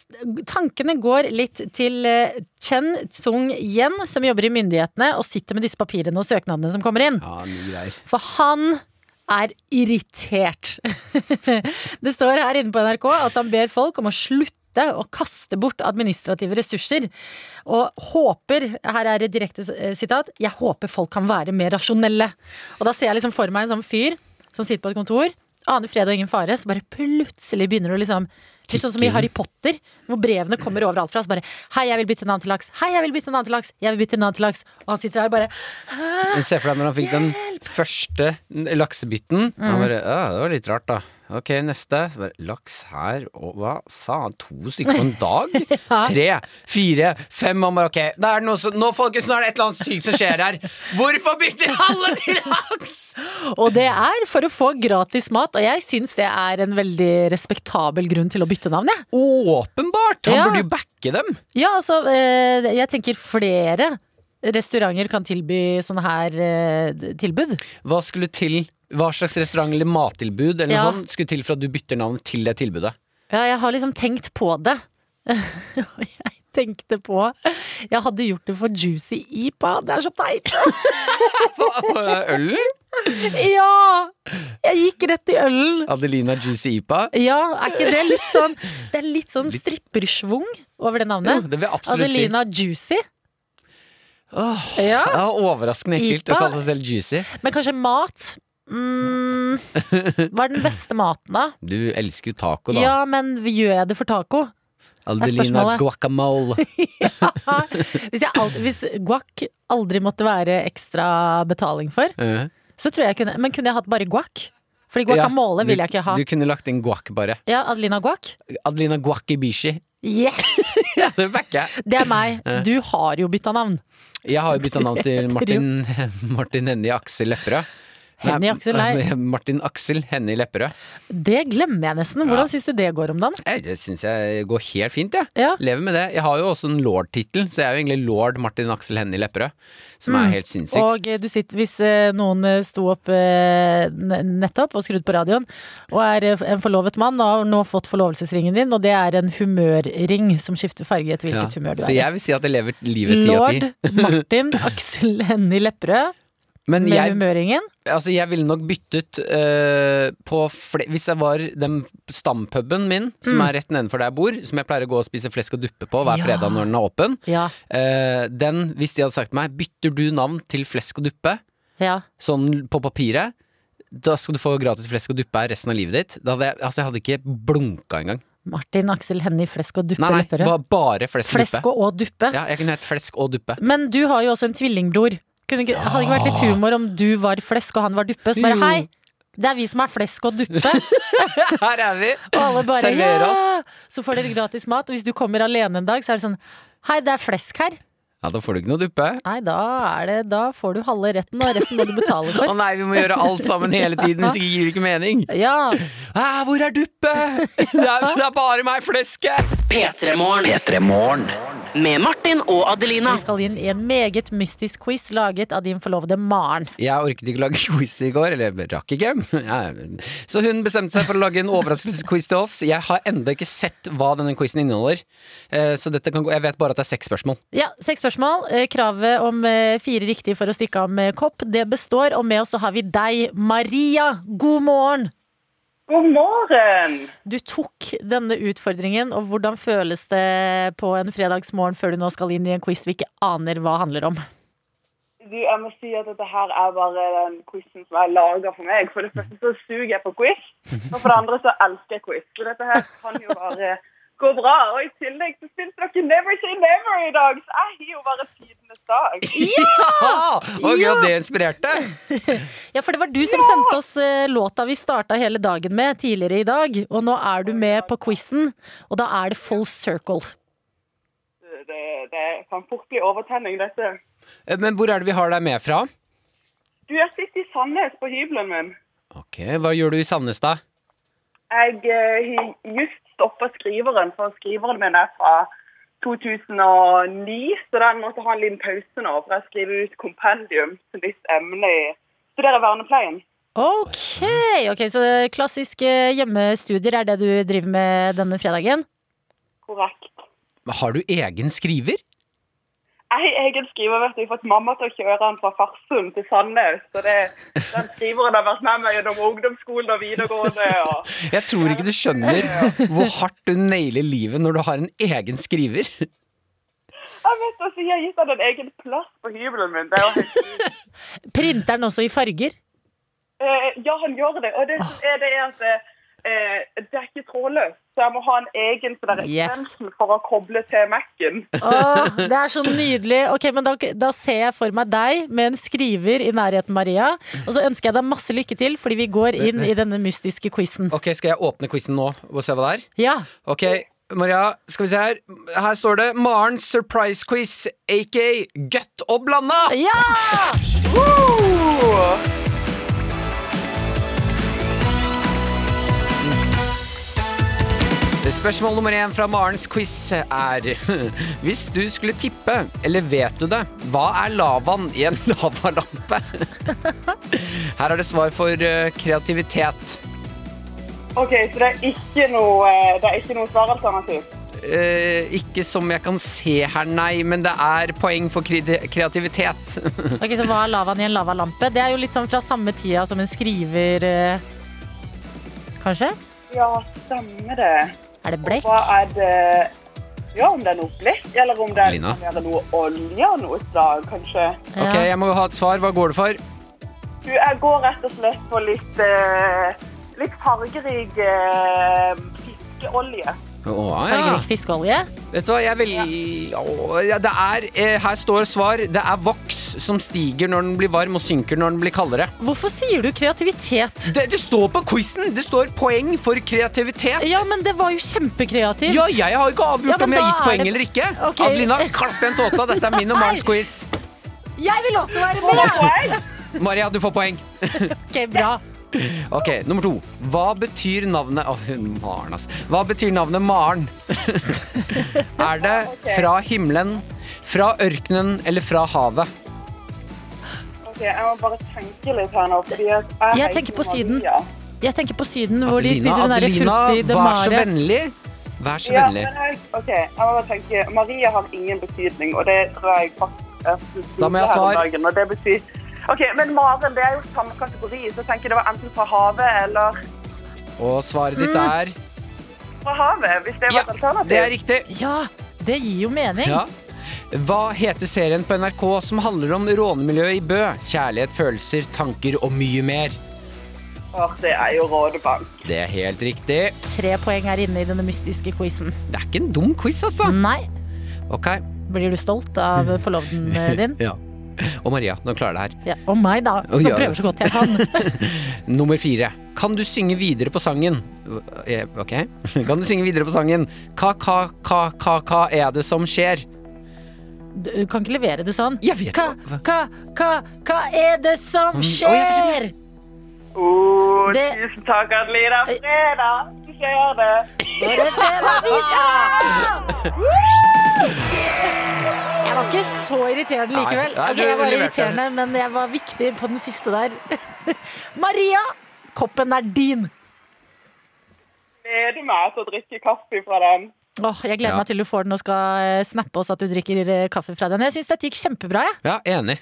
tankene går litt til eh, Chen Tsung Yen, som jobber i myndighetene og sitter med disse papirene og søknadene som kommer inn. Ja, mye greier. For han er irritert. [laughs] det står her inne på NRK at han ber folk om å slutte å kaste bort administrative ressurser. Og håper, her er et direkte eh, sitat, jeg håper folk kan være mer rasjonelle. Og da ser jeg liksom for meg en sånn fyr som sitter på et kontor, aner fred og ingen fare, så bare plutselig begynner du liksom Litt sånn som i Harry Potter, hvor brevene kommer overalt fra. Så bare 'Hei, jeg vil bytte navn til laks'. 'Hei, jeg vil bytte navn til laks'. 'Jeg vil bytte navn til laks'. Og han sitter her og bare Men se for deg når han fikk den første laksebytten. Mm. Han bare, «Å, det var litt rart, da. Ok, neste. Så bare, laks her og hva faen? To stykker på en [laughs] dag? Tre, fire, fem. Han bare ok, det er noe som, nå folkens, nå er det et eller annet sykt som skjer her. Hvorfor bytter alle til laks? Og det er for å få gratis mat, og jeg syns det er en veldig respektabel grunn til å bytte navn, jeg. Åpenbart! Han Ja. burde jo backe dem. Ja, altså, eh, jeg tenker flere restauranter kan tilby sånne her eh, d- tilbud. Hva skulle til? Hva slags restaurant eller mattilbud eller Ja. noe sånt skulle til for at du bytter navn til det tilbudet? Ja, jeg har liksom tenkt på det. Og [laughs] jeg tenkte på Jeg hadde gjort det for Juicy Ipa, det er så [laughs] teit! Ølen? Ja! Jeg gikk rett i ølen. Adelina Juicy Ipa? Ja, er ikke det litt sånn Det er litt sånn strippersvung over det Jo, navnet? det vil jeg absolutt si. Adelina Juicy. Åh. Ja. Ja, overraskende Ah. ekkelt å Ipa. kalle seg selv juicy. Men kanskje mat? Mm, hva er den beste maten, da? Du elsker jo taco, da. Ja, men gjør jeg det for taco? [laughs] Adelina spørsmålet. guacamole. [laughs] Ah, hvis, jeg aldri, hvis guac aldri måtte være ekstra betaling for, Eh, så tror jeg jeg kunne Men kunne jeg hatt bare guac? Fordi guacamole ja, vil jeg ikke ha. Du, du kunne lagt inn guac, bare. Ja, Adelina Guac? Adelina guacibishi. Yes! Det backer jeg. Det er [laughs] meg. Du har jo bytta navn. Jeg har jo bytta [laughs] navn til heter Martin, [laughs] Martin Hennie Aksel Lepperød. Henny Aksel, nei. [laughs] Martin Aksel Hennie Lepperød. Det glemmer jeg nesten. Hvordan syns du det går om dagen? Eh, Det syns jeg går helt fint, jeg. Ja. Lever med det. Jeg har jo også en lord-tittel, så jeg er jo egentlig lord Martin Aksel Hennie Lepperød. Som er helt sinnssykt. Og eh, du sitter, hvis eh, noen eh, sto opp eh, ne- nettopp og skrudde på radioen, og er eh, en forlovet mann og har nå fått forlovelsesringen din, og det er en humørring som skifter farge etter Ja. hvilket humør du Så er i. jeg vil si at jeg lever livet ti av Lord ti. Martin Aksel Hennie Lepperød Men med jeg humørringen. Altså, jeg ville nok byttet eh, på fle Hvis jeg var den stampuben min, som er rett nedenfor der jeg bor, som jeg pleier å gå og spise flesk og duppe på hver Mm. Ja. fredag når den er åpen, Ja. eh, den, hvis de hadde sagt til meg 'bytter du navn til flesk og duppe', ja. sånn på papiret, da skal du få gratis flesk og duppe her resten av livet ditt. Da hadde jeg, altså, jeg hadde ikke blunka engang. Martin Aksel Hennie Flesk og Duppe Nei, nei, Lepperød. ba- bare flesk og Flesk duppe. og Duppe. Ja, jeg kunne hett flesk og [laughs] duppe. Men du har jo også en tvillingbror. Kunne ikke, Hadde ikke vært litt humor om du var flesk og han var duppe? Så bare Jo. hei, det er vi som er flesk og duppe. Her er vi! Og alle bare Server ja! oss. Så får dere gratis mat. Og hvis du kommer alene en dag, så er det sånn Hei, det er flesk her. Ja, da får du ikke noe duppe. Nei, da, er det, da får du halve retten, og resten må du betale Å [laughs] for. nei, vi må gjøre alt sammen hele tiden, hvis ikke gir det ikke mening. Ja, Ah, hvor er [laughs] duppe? Det er, det er bare meg, flesket! P3-morgen P3 Morgen. med Martin og Adelina. vi skal inn i en meget mystisk quiz laget av din forlovede Maren. Jeg orket ikke lage [laughs] quiz i går, eller jeg rakk ikke. [laughs] Ja, men- Så hun bestemte seg for å lage en overraskelsesquiz til oss. Jeg har ennå ikke sett hva denne quizen inneholder, Eh, så dette kan gå. jeg vet bare at det er seks spørsmål. Ja, Seks spørsmål. Eh, Kravet om eh, fire riktige for å stikke av med kopp, det består. Og med oss så har vi deg, Maria. God morgen! God morgen! Du tok denne utfordringen, og hvordan føles det på en fredagsmorgen før du nå skal inn i en quiz vi ikke aner hva handler om? Du, jeg må si at dette her er bare den quizen som er laga for meg. For det første så suger jeg på quiz, og for det andre så elsker jeg quiz. Så dette her kan jo bare gå bra. Og i tillegg så spilte dere Never Say Never i dag, så jeg har jo bare tidenes dag. [laughs] Ah, og gøy at det inspirerte! Ja, for det var du som sendte oss eh, låta vi starta hele dagen med tidligere i dag, og nå er du med på quizen, og da er det full circle. Det, det kan fort bli overtenning, dette. Eh, Men hvor er det vi har deg med fra? Du, jeg sitter i Sandnes på hybelen min. Ok, Hva gjør du i Sandnes, da? Jeg eh, har just stoppa skriveren, for skriveren min er fra 2009. Så den måtte ha en liten pause nå, for jeg skriver ut kompendium til visst emne i Studerer vernepleien. Ok, ok, så det klassiske hjemmestudier er det du driver med denne fredagen? Korrekt. Har du egen skriver? Jeg har egen skriver, vet du. Jeg har fått mamma til å kjøre den fra Farsund til Sandnes. Så det, den skriveren har vært med meg gjennom ungdomsskolen og videregående. og... [laughs] Jeg tror ikke du skjønner hvor hardt du nailer livet når du har en egen skriver. Jeg vet altså, jeg har gitt han en egen plass på hybelen min. Det er jo helt Printer den også i [laughs] farger? Eh, ja, han gjør det. Og det som er, det er at eh, det er ikke trådløst. Så jeg må ha en egen sånn der Yes. extension for å koble til Mac-en. Åh, det er så nydelig. Ok, men da, da ser jeg for meg deg med en skriver i nærheten, Maria. Og så ønsker jeg deg masse lykke til, fordi vi går inn i denne mystiske quizen. Ok, Skal jeg åpne quizen nå og se hva det er? Ja, Ok, Maria, skal vi se her. Her står det Marens surprise quiz, aka Gøtt og blanda. ja! Spørsmål nummer én fra Marens quiz er [laughs] Hvis du skulle tippe, eller vet du det, hva er lavaen i en [laughs] lavalampe? Her er det svar for eh, kreativitet. OK, så det er ikke noe, eh, det er ikke noe svaralternativ. Eh, ikke som jeg kan se her, nei, men det er poeng for kri- kreativitet. [laughs] Ok, Så hva er lavaen i en lavalampe? Det er jo litt sånn fra samme tida som en skriver eh, Kanskje? Ja, stemmer det. Er det blekk? Hva er det Ja, om det er noe blekk, eller om det er, Lina? kan være noe olje av noe slag, kanskje. Ok, Ja. jeg må ha et svar. Hva går det for? Du, jeg går rett og slett for litt, eh, litt fargerik eh, fiskeolje. Å, ja. Fargerik fiskeolje? Vet du hva, jeg vil Åh, ja, det er, eh, Her står svar. Det er voks som stiger når den blir varm, og synker når den blir kaldere. Hvorfor sier du kreativitet? Det, det står på quizen! Det står poeng for kreativitet. Ja, men det var jo kjempekreativt. Ja, jeg har jo ikke avgjort Ja, men om jeg da har gitt er poeng det- eller ikke. Ok. Adelina, klapp igjen tåta. Dette er min og Marens quiz. Jeg vil også være med! Maria, du får poeng. Ok, bra. Ok, Nummer to. Hva betyr navnet Åh, Maren, ass. Hva betyr navnet Maren? [laughs] er det fra himmelen, fra ørkenen eller fra havet? Ok, Jeg må bare tenke litt her nå. Fordi at jeg Jeg heter tenker på Maria. Syden. Jeg tenker på Syden, hvor de spiser den derre Adelina, frutti de vær så mare. vennlig. Vær så Ja, vennlig. men jeg, ok, jeg må bare tenke. Maria har ingen betydning, og det tror jeg faktisk jeg skulle Da må jeg si her om svare. dagen, og det betyr... Ok, Men Maren, det er jo samme kategori, så jeg tenker det var enten fra havet eller Og svaret ditt Mm. er fra havet. Hvis det var Ja, et alternativ. det er riktig. Ja, det gir jo mening. Ja. Hva heter serien på NRK som handler om rånemiljøet i Bø? Kjærlighet, følelser, tanker og mye mer. Åh, det er jo Rådebank. Det er helt riktig. Tre poeng er inne i denne mystiske quizen. Det er ikke en dum quiz, altså. Nei. Mm. Ok. Blir du stolt av forloveden eh, [laughs] din? Ja. Og Maria, nå klarer du det her. Ja. Og meg, da, Å, som ja. prøver så godt jeg kan. Nummer fire. Kan du synge videre på sangen? Eh, Ok. [laughs] Kan du synge videre på sangen? Hva, hva, hva, hva, hva er det som skjer? Du kan ikke levere det sånn. Jeg vet Hva, hva- Mm, hva, hva, hva er det som skjer? Oh, Det- Tusen takk, Adelina. Eh. Fredag, så skjer det. For en fredag vi skal ha! [laughs] Jeg var ikke så irriterende likevel. Nei, nei, Ok, du jeg var leverte. irriterende, men jeg var viktig på den siste der. [laughs] Maria, koppen er din. Gleder meg til å drikke kaffe fra den. Åh, jeg gleder Ja. meg til du får den og skal eh, snappe oss at du drikker eh, kaffe fra den. Jeg syns dette gikk kjempebra. Jeg. Ja, enig.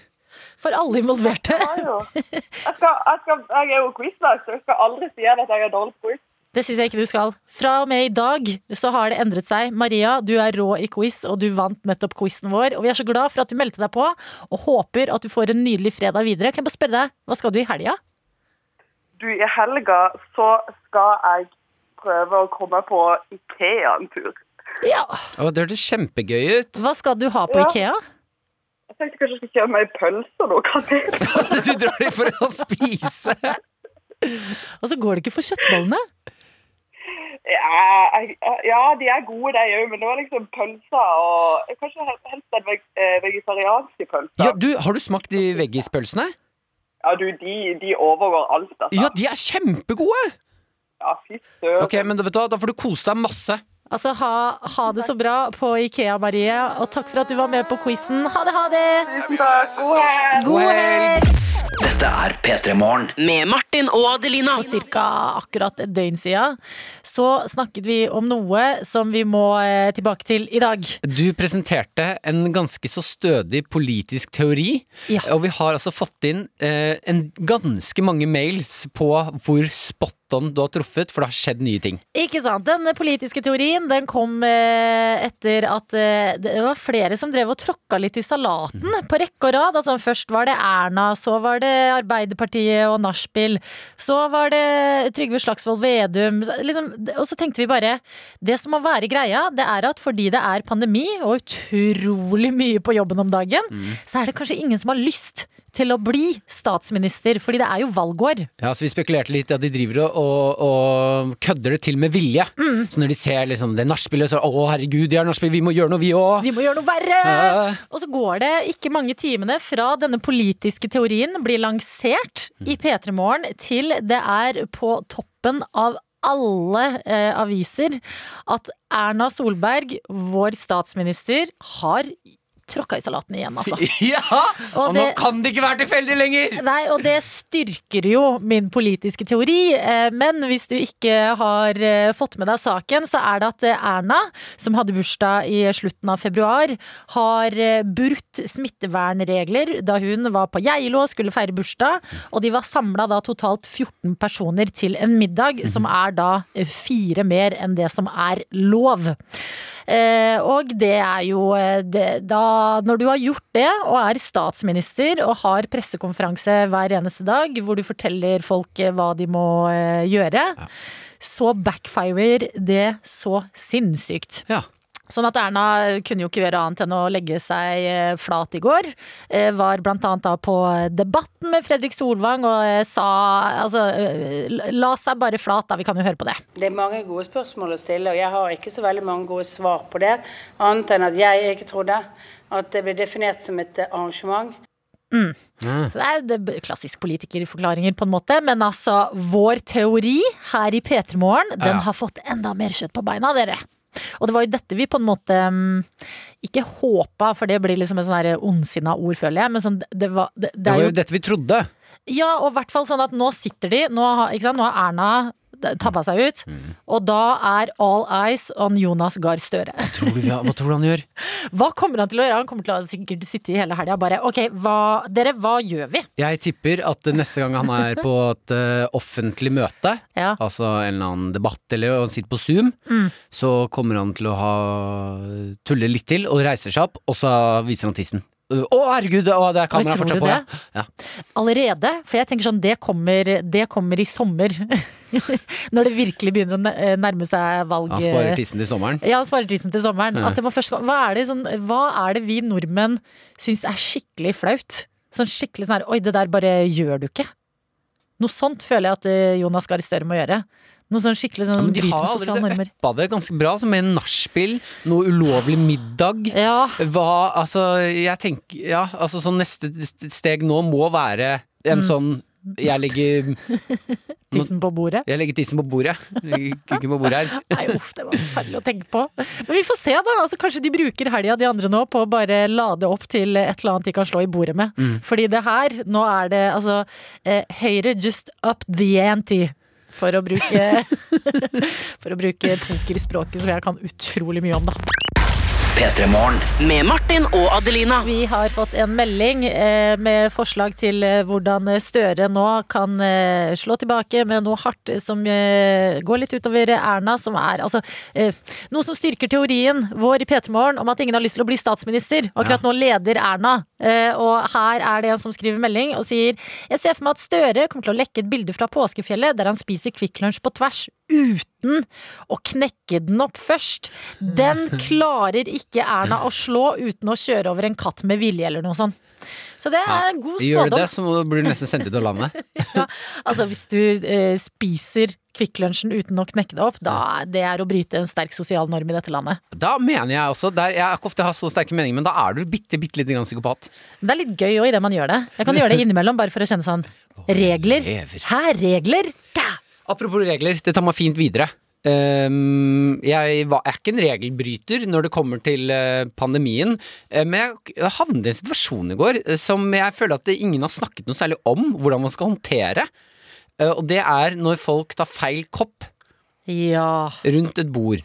for alle involverte. Jeg, har [laughs] jo, jeg, skal, jeg, skal, jeg er jo quizmaster, så jeg skal aldri si at jeg er dårlig på quiz. Det syns jeg ikke du skal. Fra og med i dag så har det endret seg. Maria, du er rå i quiz, og du vant nettopp quizen vår. Og vi er så glad for at du meldte deg på, og håper at du får en nydelig fredag videre. Kan jeg bare spørre deg, hva skal du i helga? Du, i helga så skal jeg prøve å komme på Ikea en tur. Ja. Å, det hørtes kjempegøy ut. Hva skal du ha på Ja. Ikea? Jeg tenkte kanskje jeg skulle kjøpe meg pølse nå, kan jeg? Du drar dit for å spise. Og så går det ikke for kjøttbollene. [laughs] Ja, jeg, ja, de er gode de òg, men det var liksom pølser og Kanskje hel- helst en veg, eh, vegetariansk pølse. Ja, Ja. du, har du smakt de veggispølsene? du, de, de overgår alt, altså. Ja, de er kjempegode! Ja, fy søren. Ok, men vet du, hva, Da får du kose deg masse. Altså, ha, ha det så bra på Ikea, Marie, og takk for at du var med på quizen. Ha det, ha det! Tusen takk. God helg! God helg! Dette er P3 Morgen. Med Martin og Adelina. for ca. akkurat et døgn siden, så snakket vi om noe som vi må eh, tilbake til i dag. Du presenterte en ganske så stødig politisk teori, Ja. og vi har altså fått inn eh, en ganske mange mails på hvor spot on du har truffet, for det har skjedd nye ting. Ikke sant? Den politiske teorien den kom eh, etter at eh, det var flere som drev og tråkka litt i salaten på rekke og rad. Altså, først var det Erna, så var det Arbeiderpartiet og Nachspiel. Så var det Trygve Slagsvold Vedum. Så- Liksom, og så tenkte vi bare Det som må være greia, det er at fordi det er pandemi og utrolig mye på jobben om dagen, så er det kanskje ingen som har lyst til å bli statsminister, fordi det er jo valgår. Ja, så Vi spekulerte litt i at de driver og, og, og kødder det til med vilje. Mm. Så når de ser liksom det nachspielet, så å herregud, de er nachspiel, vi må gjøre noe, vi òg. Vi må gjøre noe verre! Ja. Og så går det ikke mange timene fra denne politiske teorien blir lansert i P3 Morgen, til det er på toppen av alle eh, aviser at Erna Solberg, vår statsminister, har tråkka [laughs] i salaten igjen, altså. [laughs] Ja! Og, Og nå det- kan det ikke være tilfeldig lenger! Nei, og det styrker jo min politiske teori. eh, Men hvis du ikke har eh, fått med deg saken, så er det at eh, Erna, som hadde bursdag i slutten av februar, har eh, brutt smittevernregler da hun var på Geilo og skulle feire bursdag. Og de var samla da totalt 14 personer til en middag, som er da eh, fire mer enn det som er lov. Eh, og det er jo eh, det, da, Når du har gjort det, og er statsminister og har pressekonferanse hver eneste dag, hvor du forteller folk eh, hva de må eh, gjøre, så backfirer det så sinnssykt. Ja. Sånn at Erna kunne jo ikke gjøre annet enn å legge seg eh, flat i går. Eh, Var blant annet da på eh, Debatten med Fredrik Solvang og eh, sa Altså, eh, la seg bare flat, da. Vi kan jo høre på det. Det er mange gode spørsmål å stille, og jeg har ikke så veldig mange gode svar på det. Annet enn at jeg ikke trodde at det ble definert som et eh, arrangement. Så det er jo det klassisk politikerforklaringer på en måte, men altså, vår teori her i P3morgen, den Ja. har fått enda mer kjøtt på beina, dere. Og det var jo dette vi på en måte mm, ikke håpa, for det blir liksom et sånn her ondsinna ord, føler jeg, men sånn, det, var, det, det Det er var jo jo dette vi trodde. ja, og i hvert fall sånn at nå sitter de Nå har, ikke sant? Nå har Erna tabba seg ut. Mm. Og da er all eyes on Jonas Gahr Støre. Tror du, vi har- hva tror du han gjør? Hva kommer han til å gjøre? Han kommer til å sikkert sitte i hele helga og bare OK, hva, dere, hva gjør vi? Jeg tipper at neste gang han er på et eh, offentlig møte, Ja. altså en eller annen debatt eller og han sitter på Zoom, så kommer han til å ha tulle litt til og reiser seg opp, og så viser han tissen. Å, herregud, å, det er kamera Oi, tror fortsatt du på! det? Ja. Allerede? For jeg tenker sånn, det kommer, det kommer i sommer. [laughs] Når det virkelig begynner å n- nærme seg valg. eh, Han sparer tissen til sommeren. Ja, han sparer tissen til sommeren. At det må først, hva, er det, sånn, hva er det vi nordmenn syns er skikkelig flaut? Sånn skikkelig sånn her Oi, det der bare gjør du ikke. Noe sånt føler jeg at eh, Jonas Gahr Støre må gjøre. Noe sånn skikkelig sånn Men de bryt har med sosiale allerede normer. uppa det ganske bra, som med nachspiel, noe ulovlig middag. Ja. Hva, altså, jeg tenker Ja, altså, sånn neste st- steg nå må være Mm. en sånn Jeg legger Tissen på bordet. Jeg legger tissen på bordet. Legger Kukken på bordet her. Nei, uff, det var forferdelig å tenke på. Men vi får se, da. Altså, kanskje de bruker helga de andre nå på å bare lade opp til et eller annet de kan slå i bordet med. Fordi det her, nå er det altså eh, Høyre just up the ante. For å [laughs] bruke For å bruke pokerspråket som jeg kan utrolig mye om, da. Med Martin og Adelina. Vi har fått en melding eh, med forslag til eh, hvordan Støre nå kan eh, slå tilbake med noe hardt som eh, går litt utover Erna, som er altså eh, Noe som styrker teorien vår i P3 Morgen om at ingen har lyst til å bli statsminister. Akkurat nå leder Erna. Eh, og her er det en som skriver melding og sier Jeg ser for meg at Støre kommer til å lekke et bilde fra påskefjellet der han spiser Kvikk Lunsj på tvers uten å knekke den opp først. Den klarer ikke Erna å slå uten å kjøre over en katt med vilje eller noe sånt. Så det er en god Gjør du det, spådom. så må- blir du nesten sendt ut av landet. [laughs] Altså hvis du eh, spiser Kvikk Lunsjen uten å knekke det opp, da er det er å bryte en sterk sosial norm i dette landet. Da mener jeg også der, Jeg har ikke ofte hatt så sterke meninger, men da er du bitte, bitte lite grann psykopat. Men det er litt gøy òg idet man gjør det. Jeg kan gjøre det innimellom bare for å kjenne sånn Regler? lever. Hæ, regler? Gah! Apropos regler, det tar meg fint videre. Ehm, jeg var- er ikke en regelbryter når det kommer til eh, pandemien, eh, men jeg havnet i en situasjon i går eh, som jeg føler at det- ingen har snakket noe særlig om hvordan man skal håndtere. Eh, og det er når folk tar feil kopp Ja. rundt et bord.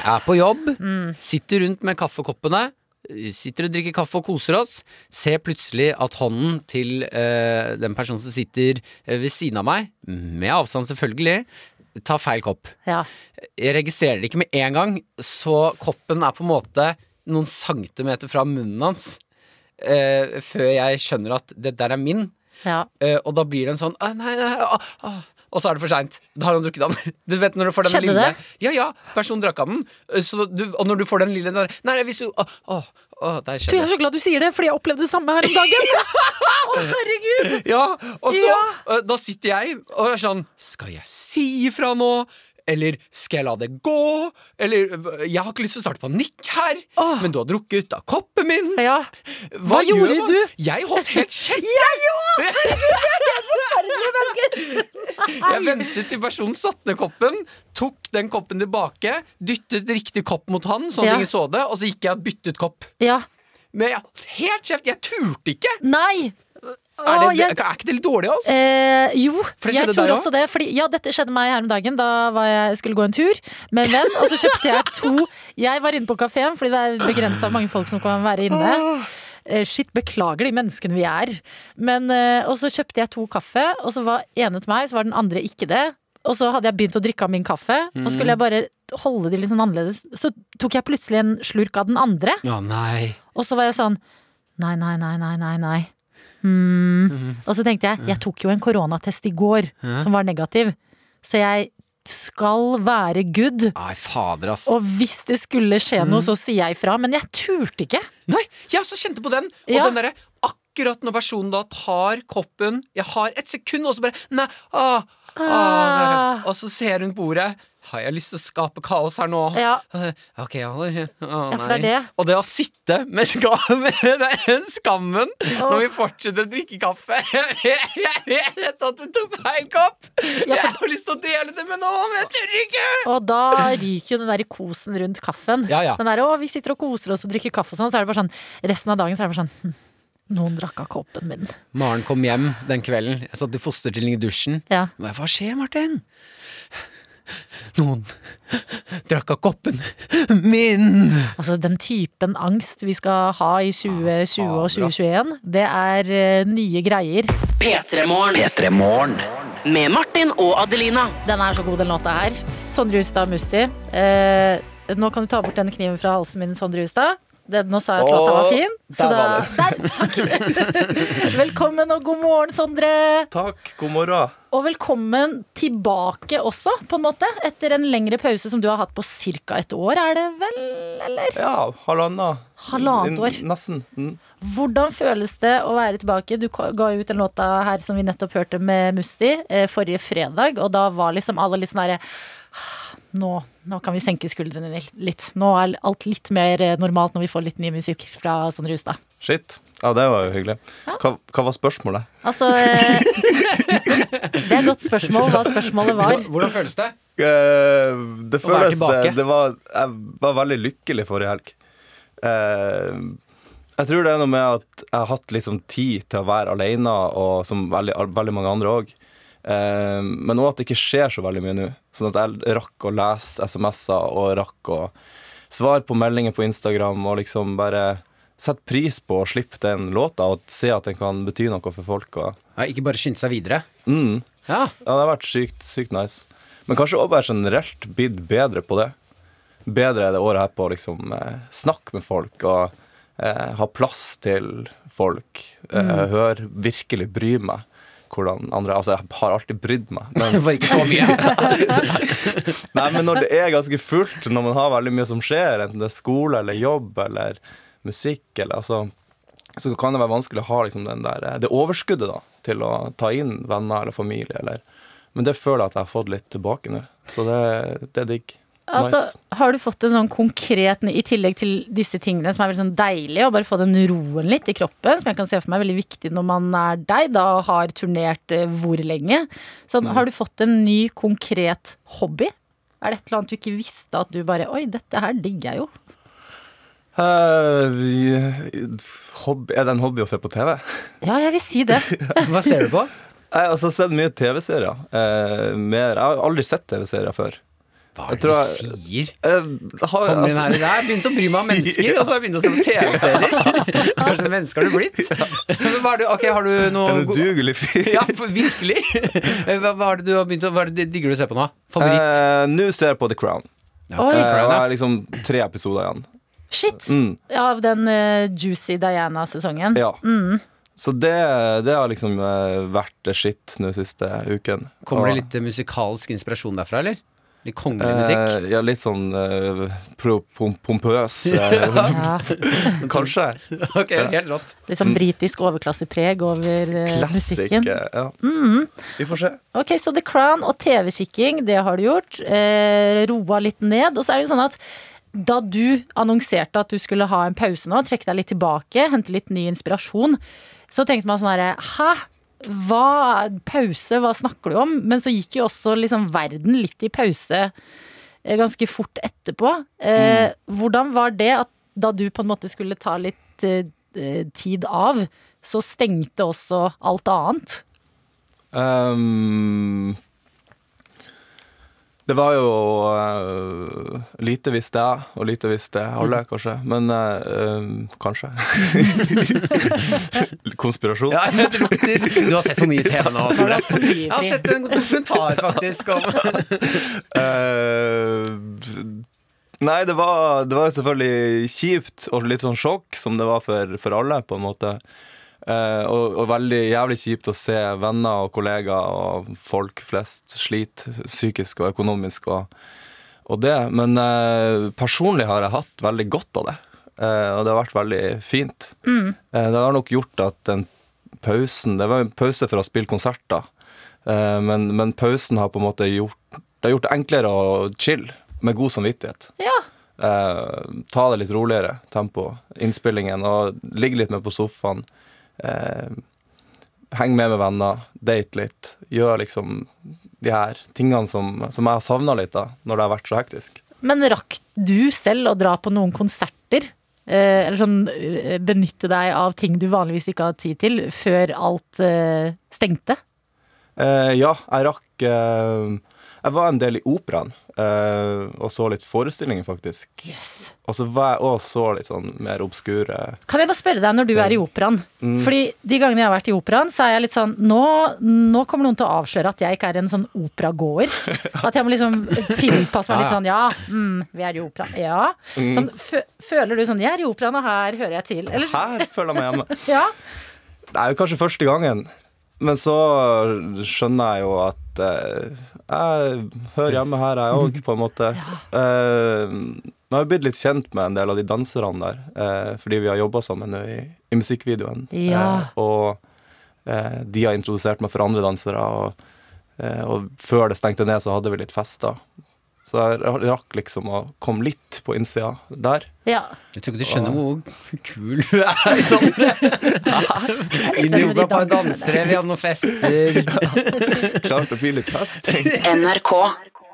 Er på jobb, sitter rundt med kaffekoppene, sitter og drikker kaffe og koser oss. Ser plutselig at hånden til eh, den personen som sitter eh, ved siden av meg, med avstand selvfølgelig, tar feil kopp. ja. Jeg registrerer det ikke med en gang, så koppen er på en måte noen centimeter fra munnen hans. eh, før jeg skjønner at det der er min. Ja. Eh, og da blir det en sånn «Å, nei, nei, å, å». Og så er det for seint. Da har han drukket den. [laughs] Du vet når du får den Skjedde lille det? Ja, ja, personen drakk av den. Eh, Så du, og når du får den lille den der, Nei, nei, hvis du Å, å, å der Du, jeg skjedde er det. så glad du sier det, fordi jeg opplevde det samme her om [laughs] dagen. Å, herregud! Ja, og så Ja. eh, Da sitter jeg og er sånn Skal jeg si ifra nå? Eller skal jeg la det gå? Eller eh, Jeg har ikke lyst til å starte panikk her, men du har drukket ut av koppen min. Ja. Hva gjør gjorde man? du? Jeg holdt helt [laughs] kjeft. [laughs] Jeg ventet til personen satte ned koppen, tok den koppen tilbake, dyttet riktig kopp mot han, sånn at Ja. ingen så det, og så gikk jeg og byttet kopp. Ja. Men jeg, helt kjeft, jeg turte ikke! Nei! Å, Er, det, jeg- er ikke det litt dårlig av oss? Eh, jo, For det jeg skjedde tror deg også det. Fordi, ja, dette skjedde meg her om dagen. Da var jeg, skulle gå en tur med en venn, og så kjøpte jeg to Jeg var inne på kafeen, fordi det er begrensa hvor mange folk som kan være inne. Eh, Shit, beklager de menneskene vi er. Men, eh, og så kjøpte jeg to kaffe, og så var ene til meg, så var den andre ikke det. Og så hadde jeg begynt å drikke av min kaffe, og skulle jeg Mm. bare holde de litt sånn annerledes, så tok jeg plutselig en slurk av den andre. Å nei. Og så var jeg sånn Nei, nei, nei, nei, nei, nei. Mhm. Hmm. Og så tenkte jeg, jeg tok jo en koronatest i går som var negativ, så jeg skal være good. Nei, fader, ass. Mhm. Og hvis det skulle skje noe, så sier jeg ifra. Men jeg turte ikke. Nei, jeg også kjente på den. Og Ja. den derre akkurat når personen da tar koppen Jeg har et sekund, og så bare Nei, ah, ah, der er- Og så ser hun bordet. Har jeg lyst til å skape kaos her nå? Ja. Eh, Ok, jeg holder Å, Ja, for det er nei. det. Og det å sitte med skam- [laughs] med den skammen når vi fortsetter å drikke kaffe [laughs] Jeg vet at du tok feil kopp! Ja, Jeg for- har lyst til å dele det med noen, men jeg tør ikke! Og da ryker jo den der kosen rundt kaffen. Ja, ja. Den der, å, vi sitter og koser oss og drikker kaffe og sånn, så er det bare sånn resten av dagen så er det bare sånn hm, Noen drakk av kåpen min. Maren kom hjem den kvelden. Jeg satt i fosterstilling i dusjen. Ja. Hva hva skjer, Martin? Noen drakk av koppen min! Altså Den typen angst vi skal ha i 2020 og 2021, det er eh, nye greier. P3morgen. P3-morgen. Med Martin og Adelina. Den er så god, den låta her. Sondre Justad Musti. Eh, nå kan du ta bort denne kniven fra halsen min, Sondre Justad. Det, nå sa jeg at Åh, låta var fin. Så der da, var der, takk. [laughs] velkommen og god morgen, Sondre. Takk, god morgen. Og velkommen tilbake også, på en måte. Etter en lengre pause som du har hatt på ca. et år, er det vel? Eller? Ja, halvannet. Halvannet år. N- Nesten. Mm. Hvordan føles det å være tilbake? Du ko- ga ut den låta her som vi nettopp hørte med Musti eh, forrige fredag, og da var liksom alle litt sånn herre nå, nå kan vi senke skuldrene li- litt. Nå er alt litt mer eh, normalt når vi får litt ny musikk fra Sondre Hustad. Shit. Ja, det var jo hyggelig. Hva, hva var spørsmålet? Altså eh, [laughs] Det er et godt spørsmål hva spørsmålet var. Hvordan føles det? Eh, det Å være føles tilbake. det var, Jeg var veldig lykkelig forrige helg. Eh, jeg tror det er noe med at jeg har hatt liksom tid til å være alene, og som veldig, veldig mange andre òg. men òg at det ikke skjer så veldig mye nå. Sånn at jeg rakk å lese SMS-er og rakk å svar på meldinger på Instagram og liksom bare Sett pris på å slippe den låta og se at den kan bety noe for folk. Og... ikke bare skynde seg videre. Mm. Ja. det har vært sykt, sykt nice. Men kanskje også bare generelt blitt bedre på det. Bedre er det året her på å liksom, eh, snakke med folk og eh, ha plass til folk. Eh, Mm. Hør, virkelig bry meg. Hvordan andre, altså Jeg har alltid brydd meg. Men, Det var ikke så Nei, men når det er ganske fullt, når man har veldig mye som skjer, enten det er skole eller jobb eller musikk eller altså så kan det være vanskelig å ha liksom, den der, det overskuddet da, til å ta inn venner eller familie. Eller. Men det føler jeg at jeg har fått litt tilbake nå, så det, det er digg. Altså, nice. Har du fått en sånn konkret I tillegg til disse tingene som er veldig sånn deilige, å bare få den roen litt i kroppen, som jeg kan se for meg er veldig viktig når man er deg, da og har turnert eh, hvor lenge. Sånn, Mm. Har du fått en ny, konkret hobby? Er det et eller annet du ikke visste at du bare Oi, dette her digger jeg jo. Eh, vi- hobby, er det en hobby å se på TV? Ja, jeg vil si det. Hva ser du på? Jeg har altså sett mye TV-serier. eh, mer, jeg har aldri sett TV-serier før. Eh, Hva er det du sier? Kommer Kommer inn her og der, begynte å bry meg om mennesker, og så har jeg begynt å se på TV-serier. Hva slags mennesker har du blitt? Men Hva er det, ok, har du noe En udugelig fyr. Ja, for, virkelig. Hva, hva er det du har begynt å Hva er det digger du å se på nå? Favoritt? Eh, Nå ser jeg på The Crown. Ja, Oi. Eh, Crown, og jeg ja. har liksom tre episoder igjen. [laughs] Shit! Mm. Av den eh, Juicy Diana-sesongen. Ja. Mm. Så det, det har liksom eh, vært det shit nå siste uken. Kommer Og- det litt eh, musikalsk inspirasjon derfra, eller? Litt kongelig musikk? [laughs] Eh, ja, litt sånn eh, pro, pom, pompøs. [laughs] eh, Ja. [laughs] Kanskje. Ok, helt rått. Litt sånn britisk overklassepreg over eh, Classic. musikken. eh, Ja. Mm. Vi får se. Ok, så The Crown og TV-kikking, det har du gjort. Eh, roa litt ned. Og så er det jo sånn at da du annonserte at du skulle ha en pause nå, trekke deg litt tilbake, hente litt ny inspirasjon, så tenkte man sånn herre Hæ? Hva Pause? Hva snakker du om? Men så gikk jo også liksom verden litt i pause eh, ganske fort etterpå. Eh, Hvordan var det at da du på en måte skulle ta litt eh, eh, tid av, så stengte også alt annet? Ehm, det var jo eh, lite visste jeg, og lite visste Mm. alle, kanskje. Men eh, ehm, [laughs] kanskje. Konspirasjon. Ja, det lukter Du har sett for mye TV nå. Sondre. Jeg har sett en dokumentar, faktisk, om [laughs] Eh, nei, det var, det var jo selvfølgelig kjipt og litt sånn sjokk, som det var for, for alle, på en måte. Eh, og, og veldig jævlig kjipt å se venner og kollegaer og folk flest slite psykisk og økonomisk og, og det. Men eh, personlig har jeg hatt veldig godt av det, Eh, og det har vært veldig fint. Mm. Eh, Det har nok gjort at den pausen Det var jo en pause for å spille konserter, Eh, men, men pausen har på en måte gjort Det har gjort det enklere å chille med god samvittighet. Eh, ta det litt roligere, tempo, innspillingen, og ligge litt med på sofaen. Eh, heng med med venner, date litt. Gjør liksom de her tingene som, som jeg har savna litt da, når det har vært så hektisk. Men rakk du selv å dra på noen konserter? Eh, eller sånn eh, benytte deg av ting du vanligvis ikke har tid til, før alt eh, stengte? Eh, ja, jeg rakk eh, Jeg var en del i operaen eh, og så litt forestillinger, faktisk. Og så var jeg også så litt sånn mer obskure Kan jeg bare spørre deg når du er i operaen? Mm. Fordi de gangene jeg har vært i operaen, så er jeg litt sånn nå, nå kommer noen til å avsløre at jeg ikke er en sånn [laughs] operagåer. At jeg må liksom tilpasse meg litt sånn ja, mm, vi er i operaen, ja. Mm. Sånn, fø føler du sånn jeg er i operaen, og her hører jeg til? Eller, [laughs] Her føler jeg meg hjemme. ja. Det er jo kanskje første gangen, men så skjønner jeg jo at eh, jeg hører hjemme her, jeg òg, på en [laughs] måte. Eh, men jeg har blitt litt kjent med en del av de danserne der, eh, fordi vi har jobba sammen nå i, i musikkvideoen. Ja. Eh, og eh, de har introdusert meg for andre dansere, og, eh, og før det stengte ned, så hadde vi litt fester. Så jeg rakk liksom å komme litt på innsida der. ja. Jeg tror ikke du skjønner hvor kul du er, [laughs] Sondre. Inn i yoga, par dansere, vi hadde noen fester. Klart å bli litt fest. NRK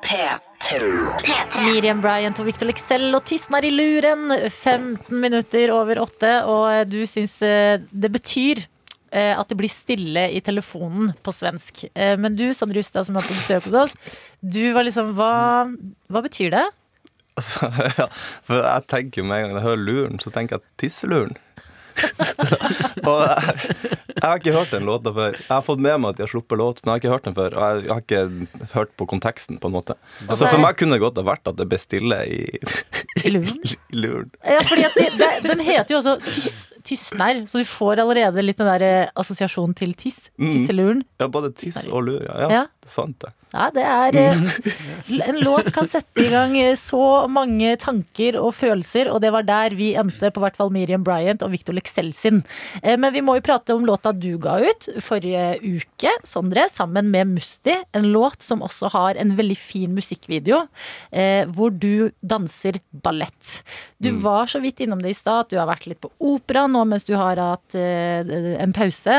P3. Miriam Bryant og Victor Lexell og Tissen er i luren. 15 minutter over åtte, og du syns eh, det betyr eh, at det blir stille i telefonen på svensk. Eh, Men du, Sondre Justad, som er på besøk hos oss, du var liksom Hva, hva betyr det? Altså, [laughs] ja, for jeg tenker jo med en gang jeg hører luren, så tenker jeg tisseluren. [laughs] og jeg, jeg har ikke hørt den låta før. Jeg har fått med meg at de har sluppet låt, men jeg har ikke hørt den før. Og jeg har ikke hørt på konteksten, på en måte. Og så så er- for meg kunne det godt ha vært at det ble stille i, [laughs] I luren? i luren. Ja, fordi at det, det, den heter jo også tis- Tysnær, så du får allerede litt den der eh, assosiasjonen til tiss. Mm. Tisseluren. Ja, både tiss og lur. Ja, ja, Ja. det er sant, det. Ja, det er eh, En låt kan sette i gang eh, så mange tanker og følelser, og det var der vi endte på hvert fall Miriam Bryant og Victor Lexell sin. Eh, Men vi må jo prate om låta du ga ut forrige uke, Sondre, sammen med Musti. En låt som også har en veldig fin musikkvideo, eh, hvor du danser ballett. Du var så vidt innom det i stad, at du har vært litt på opera nå mens du har hatt eh, en pause,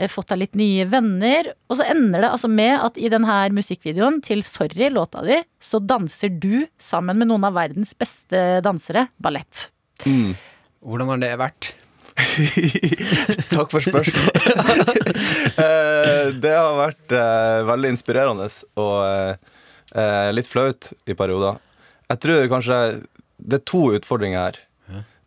eh, fått deg litt nye venner, og så ender det altså med at i denne musikkvideoen til Sorry, låta di, så danser du sammen med noen av verdens beste dansere ballett. Hvordan har det vært? Takk for spørsmålet. Eh, det har vært eh, veldig inspirerende og eh, eh, litt flaut i perioder. Jeg tror kanskje det er to utfordringer her.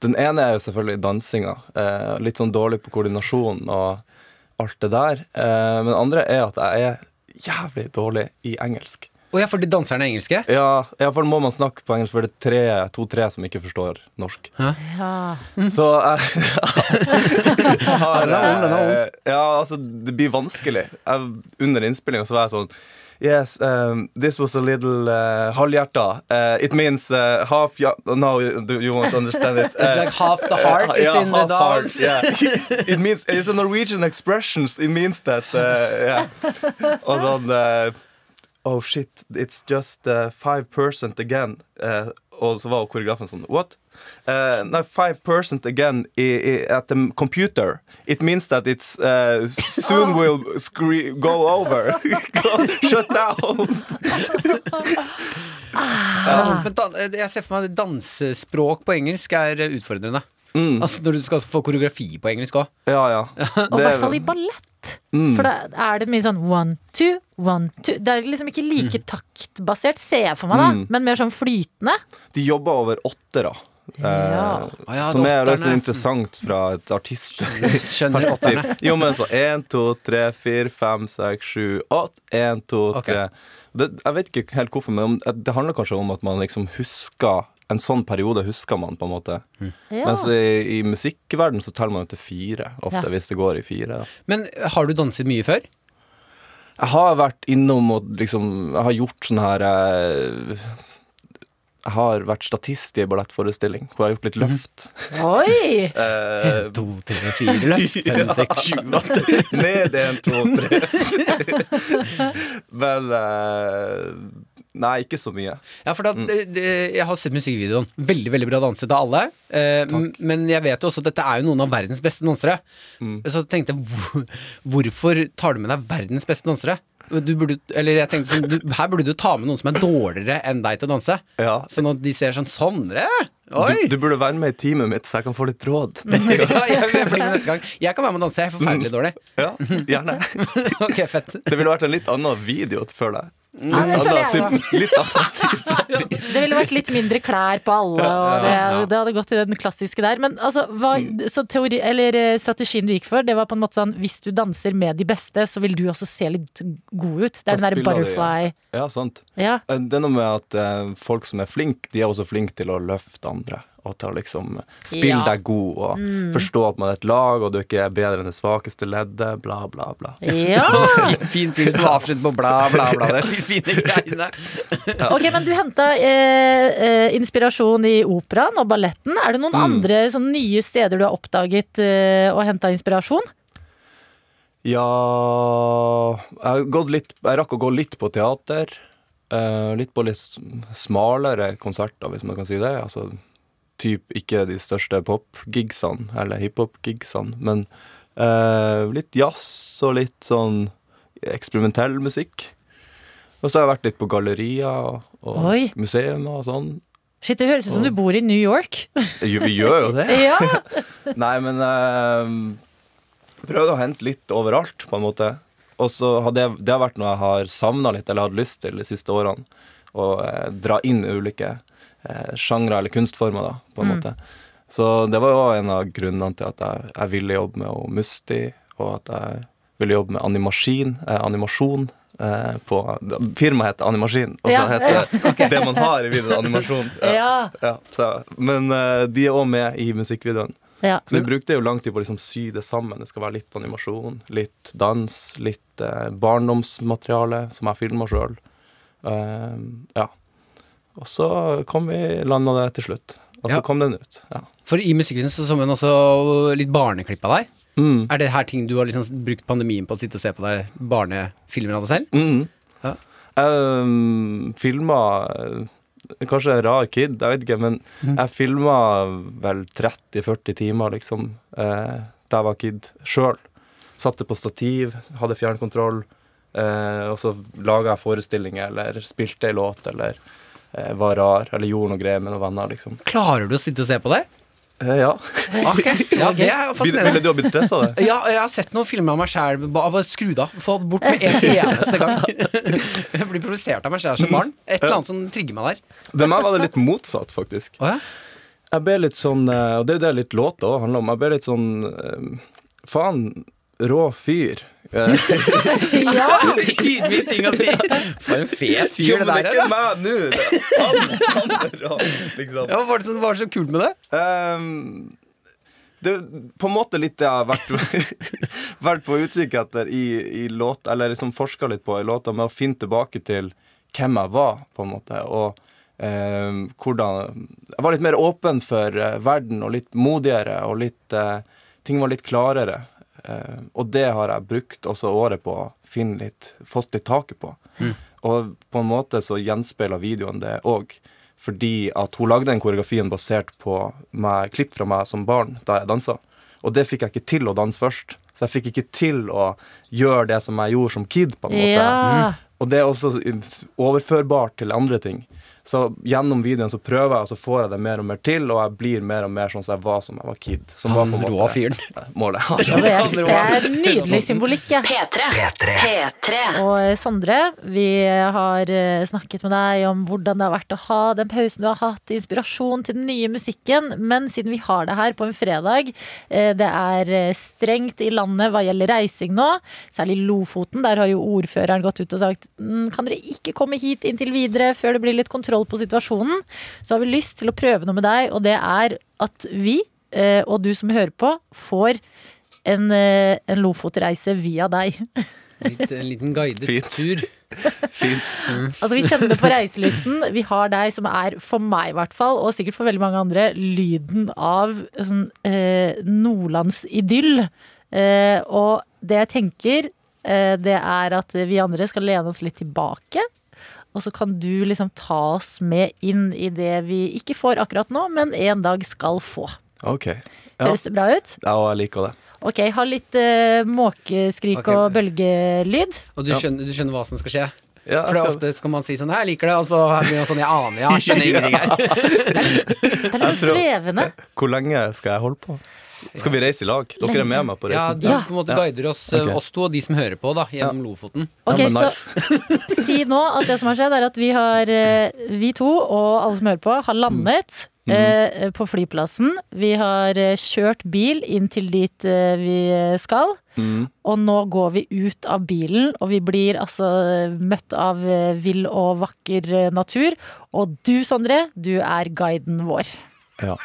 Den ene er jo selvfølgelig dansinga. Eh, litt sånn dårlig på koordinasjon og alt det der. Eh, men den andre er at jeg er jævlig dårlig i engelsk. Å ja, for de danserne er engelske? Ja, iallfall må man snakke på engelsk, for det er tre- to-tre som ikke forstår norsk. Så eh, [laughs] jeg, jeg Ja, det er har vondt, det er eh, Ja, altså, det blir vanskelig. Jeg, under innspillinga så var jeg sånn Yes, um, this was a little uh, halvhjerta. Uh, it means uh, half ya No, you, you won't understand it. It's like half the heart is in the Eh, Uh, half heart, dance. [laughs] yeah. It means It's a Norwegian expressions. It means that [laughs] uh, yeah. Og sånn eh, Oh shit, it's just uh, 5% again. Eh, og så var koreografen sånn What? Eh, nei, 5% again i, i, at the computer. It means that it's [laughs] Oh. uh, soon will scre go over. [laughs] go, shut [laughs] down. Ja, [laughs] men dan eh, jeg ser for meg at dansespråk på engelsk er eh, utfordrende. Mm. Altså Når du skal få koreografi på engelsk òg. Ja, ja. er Og i hvert fall i ballett. For da er det mye sånn one, two, one, two. Det er liksom ikke like taktbasert, ser jeg for meg, da, Mm. men mer sånn flytende. De jobber over åttere. eh, Ja. Ah, ja, som det er åtterne. også interessant fra et Skjønner artistperspektiv. åtterne. Jo, men så én, to, tre, fire, fem, seks, sju, åtte. Én, to, Ok. tre. Det, jeg vet ikke helt hvorfor, men om- eh, det handler kanskje om at man liksom husker En sånn periode husker man, på en måte. Mm. Ja. Mens i, i musikkverden så teller man jo til fire, ofte, Ja. hvis det går i fire. da. Men har du danset mye før? Jeg har vært innom og liksom Jeg har gjort sånn her eh, Jeg har vært statist i en ballettforestilling hvor jeg har gjort litt løft. Oi! Mhm. Eh, To, tre, fire, [laughs] løft, fem, seks, sju, åtte. [laughs] Ned en, to, [laughs] tre. Vel eh, Nei, ikke så mye. Ja, for da, det- det- jeg har sett musikkvideoen. Veldig veldig bra danset av alle. Eh, m- men jeg vet jo også at dette er jo noen av verdens beste dansere. Så jeg tenkte hvor, hvorfor tar du med deg verdens beste dansere? Du burde, eller jeg tenkte sånn, du, Her burde du ta med noen som er dårligere enn deg til å danse. Ja. Sånn at de ser sånn Sondre! Du, Oi! du burde være med i teamet mitt, så jeg kan få litt [laughs] [laughs] råd. ja, jeg, jeg blir med neste gang. Jeg kan være med og danse. Jeg er forferdelig dårlig. Ja, gjerne. [laughs] [laughs] ok, fett. Det ville vært en litt annen video, føler jeg. Ja, det føler jeg Annen også. type- litt annen type. Det ville vært litt mindre klær på alle, og det, det hadde gått i den klassiske der. Men altså, hva, Mm. så teori, eller eh, strategien du gikk for, det var på en måte sånn hvis du danser med de beste, så vil du også se litt god ut. Det er Da den derre spiller de, [laughs] butterfly Ja, sant. Ja. Eh, Det er noe med at eh, folk som er flinke, de er også flinke til å løfte andre. Og til å liksom spille Ja. Mm. deg god og forstå at man er et lag, og du ikke er bedre enn det svakeste leddet, bla, bla, bla. Ja! Fin, [laughs] fin fyr som avslutter på bla, bla, bla. Det er [laughs] de fine greiene. Ok, men du henta eh, eh, inspirasjon i operaen og balletten. Er det Mm. noen andre sånn, nye steder du har oppdaget eh, og henta inspirasjon? Ja jeg, har gått litt, jeg rakk å gå litt på teater. eh, litt på litt sm- smalere konserter, hvis man kan si det. Altså typ ikke de største pop-gigsene, eller hiphop-gigsene, men eh, litt jazz og litt sånn eksperimentell musikk. Og så har jeg vært litt på gallerier og, Oi. og museum og sånn. Shit, Det høres ut som du bor i New [laughs] York. Jo, Vi gjør jo det. [laughs] ja, [laughs] Nei, men eh, prøvde å hente litt overalt, på en måte. Og så har det, det har vært noe jeg har savna litt, eller hatt lyst til de siste årene. Å eh, dra inn ulike eh, eh, sjangre eller kunstformer, da, på en Mm. måte. Så det var jo en av grunnene til at jeg, jeg ville jobbe med å Musti, og at jeg ville jobbe med animaskin, eh, animasjon. Eh, på, firmaet heter Animaskin, og så Ja. [laughs] heter det det man har i videoen, animasjon. Ja. Ja, så, men eh, de er òg med i musikkvideoen. Ja. Så vi brukte jo lang tid på å liksom sy det sammen. Det skal være litt animasjon, litt dans, litt eh, barndomsmateriale som jeg filma sjøl. ja. Og så kom vi landa det til slutt. Og så Ja. kom den ut. Ja. For i musikkvideoen så så man også litt barneklipp av deg. Er det her ting du har liksom brukt pandemien på å sitte og se på deg barnefilmer av deg selv? Mm. Ja. Jeg filma eh, Kanskje en rar kid, jeg vet ikke, men jeg filma vel 30-40 timer, liksom, eh, da jeg var kid sjøl. Satte på stativ, hadde fjernkontroll, eh, og så laga jeg forestillinger eller spilte ei låt eller eh, var rar eller gjorde noe greier med noen venner, liksom. Klarer du å sitte og se på det? Eh, [laughs] ja. Ah, [laughs] Ja, det er fascinerende. Ville du ha blitt [laughs] stressa av det? Ja, jeg har sett noen filmer av meg sjæl. Bare skru det av. Få det bort med en eneste gang. [laughs] Jeg blir provosert av meg sjæl som barn. Et eller annet som trigger meg der. Ved meg var det litt motsatt, faktisk. Jeg ble litt sånn eh, Og det er jo det litt låta òg handler om. Jeg ble litt sånn eh, Faen, rå fyr. Eh, [laughs] Ja! [laughs] Ydmyk ting å [laughs] si. For en fet Jo, fyr det men der det er er. ikke da. meg nå! Det er han, han er rå, liksom. Ja, hva var det som var så kult med det? Ehm, det er på en måte litt det jeg har vært, [laughs] vært på utkikk etter i, i låt, eller liksom forska litt på i låta, med å finne tilbake til hvem jeg var, på en måte. Og ehm, hvordan Jeg var litt mer åpen for eh, verden, og litt modigere, og litt eh, Ting var litt klarere. Eh, og det har jeg brukt også året på å finne litt Fått litt taket på. Og på en måte så gjenspeiler videoen det òg. Fordi at hun lagde den koreografien basert på meg, klipp fra meg som barn da jeg dansa. Og det fikk jeg ikke til å danse først. Så jeg fikk ikke til å gjøre det som jeg gjorde som kid. på en måte. Ja. Og det er også overførbart til andre ting. Så gjennom videoen så prøver jeg, og så får jeg det mer og mer til, og jeg blir mer og mer sånn som jeg var som jeg var kid. Som var på en Han måte rå fyren. [laughs] Målet. Ja, det, jeg synes det er nydelig symbolikk. Ja. P3. Og eh, Sondre, vi har eh, snakket med deg om hvordan det har vært å ha den pausen du har hatt, inspirasjon til den nye musikken. Men siden vi har det her på en fredag, eh, det er eh, strengt i landet hva gjelder reising nå, særlig Lofoten. Der har jo ordføreren gått ut og sagt "Mm, kan dere ikke komme hit inntil videre før det blir litt kontroll på situasjonen. Så har vi lyst til å prøve noe med deg, og det er at vi, eh, og du som hører på, får en, eh, en Lofotreise via deg. Litt, en liten guidet tur. Fint. Altså Vi kjenner det på reiselysten. Vi har deg som er, for meg i hvert fall, og sikkert for veldig mange andre, lyden av sånn, eh, nordlandsidyll. Eh, og det jeg tenker, eh, det er at vi andre skal lene oss litt tilbake. Og så kan du liksom ta oss med inn i det vi ikke får akkurat nå, men en dag skal få. OK. Ja. Høres det bra ut? ja, og jeg liker det. Ok, ha litt eh, måkeskrik Ok. og bølgelyd. Og du skjønner, du skjønner hva som skal skje? Ja, For det er jeg ofte skal man si sånn 'Hei, jeg liker det', og så blir man sånn 'Jeg aner, jeg [laughs] skjønner ingenting her'. Det er litt så Jeg tror- svevende. Hvor lenge skal jeg holde på? Skal vi reise i lag? Dere er med meg på Ja, reisen? du på en måte guider oss, Ok. oss to og de som hører på, da, gjennom Lofoten. Ok, så [laughs] si nå at det som har skjedd, er at vi har eh, Vi to og alle som hører på, har landet eh, på flyplassen. Vi har eh, kjørt bil inn til dit eh, vi skal. Og nå går vi ut av bilen, og vi blir altså eh, møtt av eh, vill og vakker eh, natur. Og du, Sondre, du er guiden vår. Ja.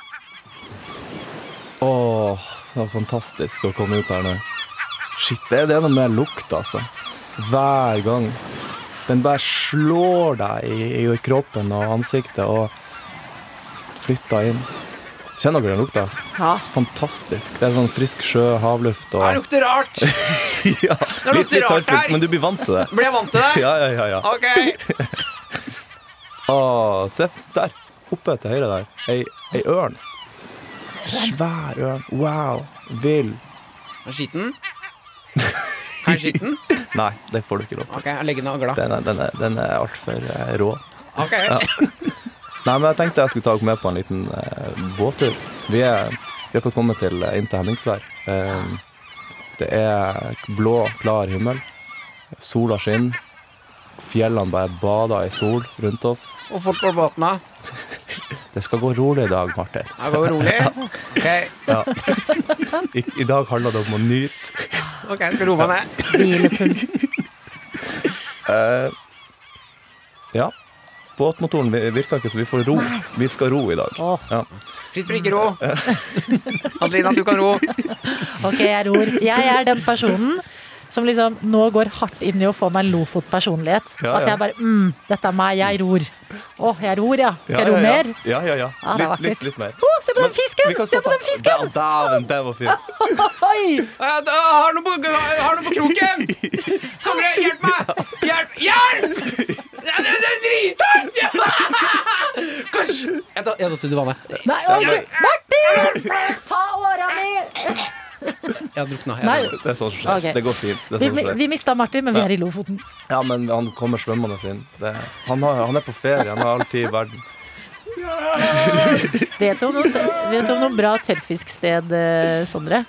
Åh, det var fantastisk å komme ut her nå. Shit, det er det noe med lukt, altså. Hver gang. Den bare slår deg i, i kroppen og ansiktet og flytter inn. Kjenner dere den lukta? Ja. Fantastisk. Det er sånn frisk sjø, havluft og Det lukter rart! [laughs] ja, Nå lukter det rart tørrfrisk, her. Men du blir vant til det. Blir jeg vant til det? [laughs] Ja, ja, ja, ja. Ok! Å, se der. Oppe til høyre der. Ei, ei ørn. Svær ørn. Wow. Vill. Er [laughs] skitten? Er skitten? Nei, det får du ikke lov til. Ok, jeg legger den agla. Den er, den er, den er altfor eh, rå. Ok. [laughs] Ja. Nei, men jeg tenkte jeg skulle ta dere med på en liten eh, båttur. Vi er vi har akkurat kommet til eh, inn til Henningsvær. Eh, det er blå, klar himmel. Sola skinner. Fjellene bare bader i sol rundt oss. Og folk går på båten av. Det skal gå rolig i dag, Marte. Det går rolig. Ok, Ja. I, I dag handler det om å nyte. Ok, jeg skal roe meg ned. Hvilepuls. Eh, ja. Båtmotoren vi- virker ikke, så vi får ro. Vi skal ro i dag. Åh. Ja. Fritt for ikke ro. Adelina, du kan ro. Ok, jeg ror. Jeg er den personen som liksom nå går hardt inn i å få meg en Lofot-personlighet. Ja, At ja. jeg bare mm, dette er meg, jeg ror. Å, jeg ror, ja. Skal jeg Ja, ro ja, ja. mer? Ja, ja, ja. Ja, det er Litt, litt, vakkert. litt mer. Å, se på den Vi fisken! kan Se stoppe på den fisken! Da- Dæven, den var fin. Oi! Jeg har noe på, jeg har noe på kroken! Sondre, hjelp meg! Hjelp! Hjelp! Det er, det er drithøyt! [laughs] Kanskje- Jeg da- jeg datt ut i vannet. Nei, oi, du, Martin! Ta åra mi! Jeg har drukna. Nei. Jeg Det er sånn som skjer. Ok. Det går fint. Det er Vi, sånn som skjer. vi mista Martin, men vi er i Lofoten. Ja, men han kommer svømmende inn. Det, han, har, han er på ferie. Han har all tid i verden. Vet du om noe, vet du om noe bra tørrfisksted, eh, Sondre?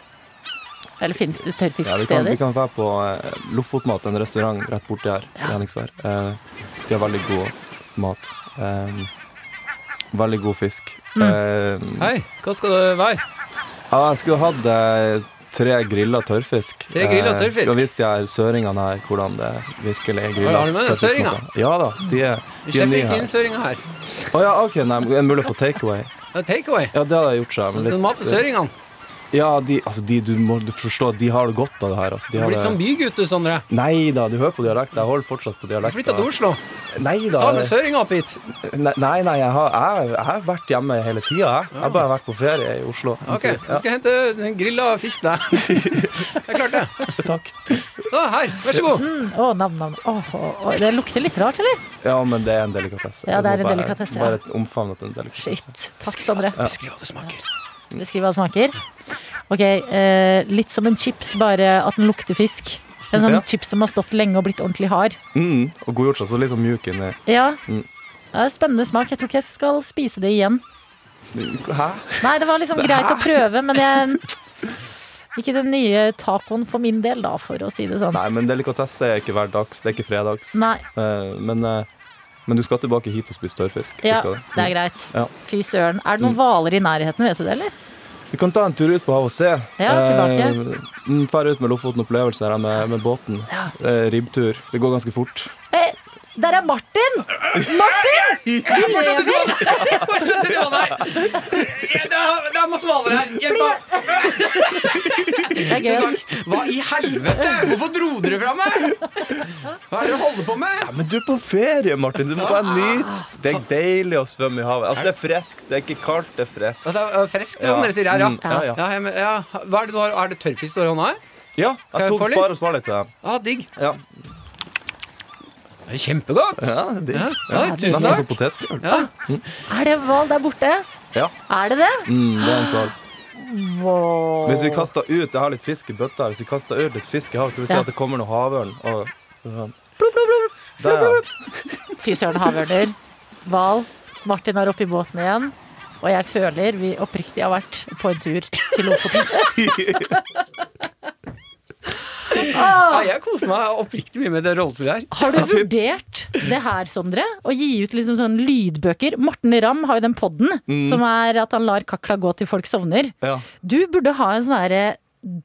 Eller fins det Ja, vi, kan, vi tørrfisksteder? kan være på eh, Lofotmat, en restaurant rett borti her. i Henningsvær. Eh, de har veldig god mat. Eh, veldig god fisk. Mm. Eh, Hei, hva skal det være? ja, jeg skulle hatt eh, tre grilla tørrfisk. Tre grilla Eh, tørrfisk? Skulle vist de her søringene her hvordan det virkelig er grilla Har du med deg søringer? tørrfiskmåter. Ja da, de er, Vi de er slipper nye ikke her. inn søringa her. Å ja, ok, nei, men er det mulig å få takeaway? Det er Takeaway. Ja, det hadde jeg gjort seg. men Så skal Altså, du litt- eh, mate søringene. Ja, de, altså, de, du må du forstå, de har det godt av det her. Altså, de Du er har blitt det... sånn bygutt, du, Sondre. Nei da, du hører på dialekt. Jeg holder fortsatt på Du dialekt. flytta til og- Oslo. Nei da. Ta med søringa opp hit. Nei, nei, nei jeg, har, jeg, jeg har vært hjemme hele tida. Jeg. jeg har bare vært på ferie i Oslo. en Ok, tur. nå skal jeg hente grilla fisk der. [laughs] Jeg klarte det. Ja, takk. Da, her, vær så god. Mm, Å, nam, nam. Å, å, å. Det lukter litt rart, eller? Ja, men det er en delikatesse. Ja, det Du er må en bare- delikatesse, ja. Bare omfavne at det er en delikatesse. Shit. Takk, Sondre. Beskriv hva det smaker. Beskriv hva det smaker. Ok, eh, litt som en chips, bare at den lukter fisk. En sånn Ja. chips som har stått lenge og blitt ordentlig hard. Mm, og godgjort seg så litt sånn mjuk inni. Ja. Mm. Det er spennende smak. Jeg tror ikke jeg skal spise det igjen. Hæ? Nei, det var liksom greit å prøve, men jeg Ikke den nye tacoen for min del, da, for å si det sånn. Nei, men delikatesse er ikke hverdags. Det er ikke fredags. Nei. Eh, men, eh, men du skal tilbake hit og spise tørrfisk. Du Ja, skal det. det er greit. Ja. Mm. Fy søren. Er det noen hvaler i nærheten, vet du det, eller? Vi kan ta en tur ut på havet og se. Ja, tilbake. Eh, Fær ut med Lofoten-opplevelsen her med, med båten. Eh, ribbtur. Det går ganske fort. Eh, der er Martin! Martin! Du lever! Bare slutt i vannet her. Jeg- Det er det er masse hvaler her. Hjelp meg. Det er gøy. Hva i helvete? Hvorfor dro dere fra meg? Hva er det dere holder på med? Men du er på ferie, Martin. Du må bare nyte. Det er deilig å svømme i havet. Altså, det er friskt. Det er ikke kaldt, det er friskt. Ja, Det er friskt, som dere sier her, ja. Mm, ja, ja. Ja, jeg men- ja. Hva er det du har? Er det tørrfisk du har i hånda her? ja jeg jeg tok få litt? spar og spar litt til deg. Ja, digg. Ja. Det er Kjempegodt. ja, digg. Ja, Ja, ja, tusen nesten som takk. potetgull. Ja. Er det en hval der borte? Ja. Er det det? Mm, det er en kval. Wow. Hvis vi kaster ut Jeg har litt fisk i bøtta. her. Hvis vi kaster ut litt fisk i havet, skal vi se Ja. at det kommer noe havørn. Og, ja. Plup, plup, plup. Der, ja. Fy søren, havørner. Hval. Martin er oppe i båten igjen. Og jeg føler vi oppriktig har vært på en tur til Lofoten. Ja, jeg koser meg oppriktig mye med det rollespillet her. Har du vurdert det her, Sondre? Å gi ut liksom sånne lydbøker? Morten Ramm har jo den podden som er at han lar kakla gå til folk sovner. Mm. Ja. Du burde ha en sånn derre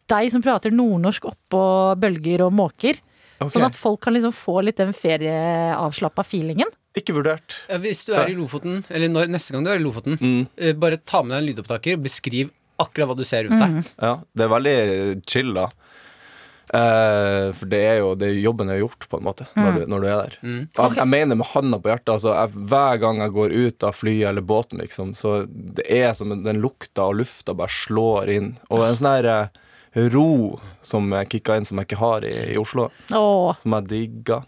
deg som prater nordnorsk oppå bølger og måker. Ok. Sånn at folk kan liksom få litt den ferieavslappa feelingen. Ikke vurdert. Ja, Hvis du er i Lofoten, eller når, neste gang du er i Lofoten, eh, bare ta med deg en lydopptaker og beskriv akkurat hva du ser rundt deg. Ja, det er veldig chill da. Eh, for det er jo det er jobben er gjort, på en måte, Mm. når, du, når du er der. Jeg, jeg mener med handa på hjertet, altså, jeg, hver gang jeg går ut av flyet eller båten, liksom, så det er som en- den lukta og lufta bare slår inn. Og en sånn her eh, ro som eh, kicker inn, som jeg ikke har i, i Oslo, Åh. som jeg digger.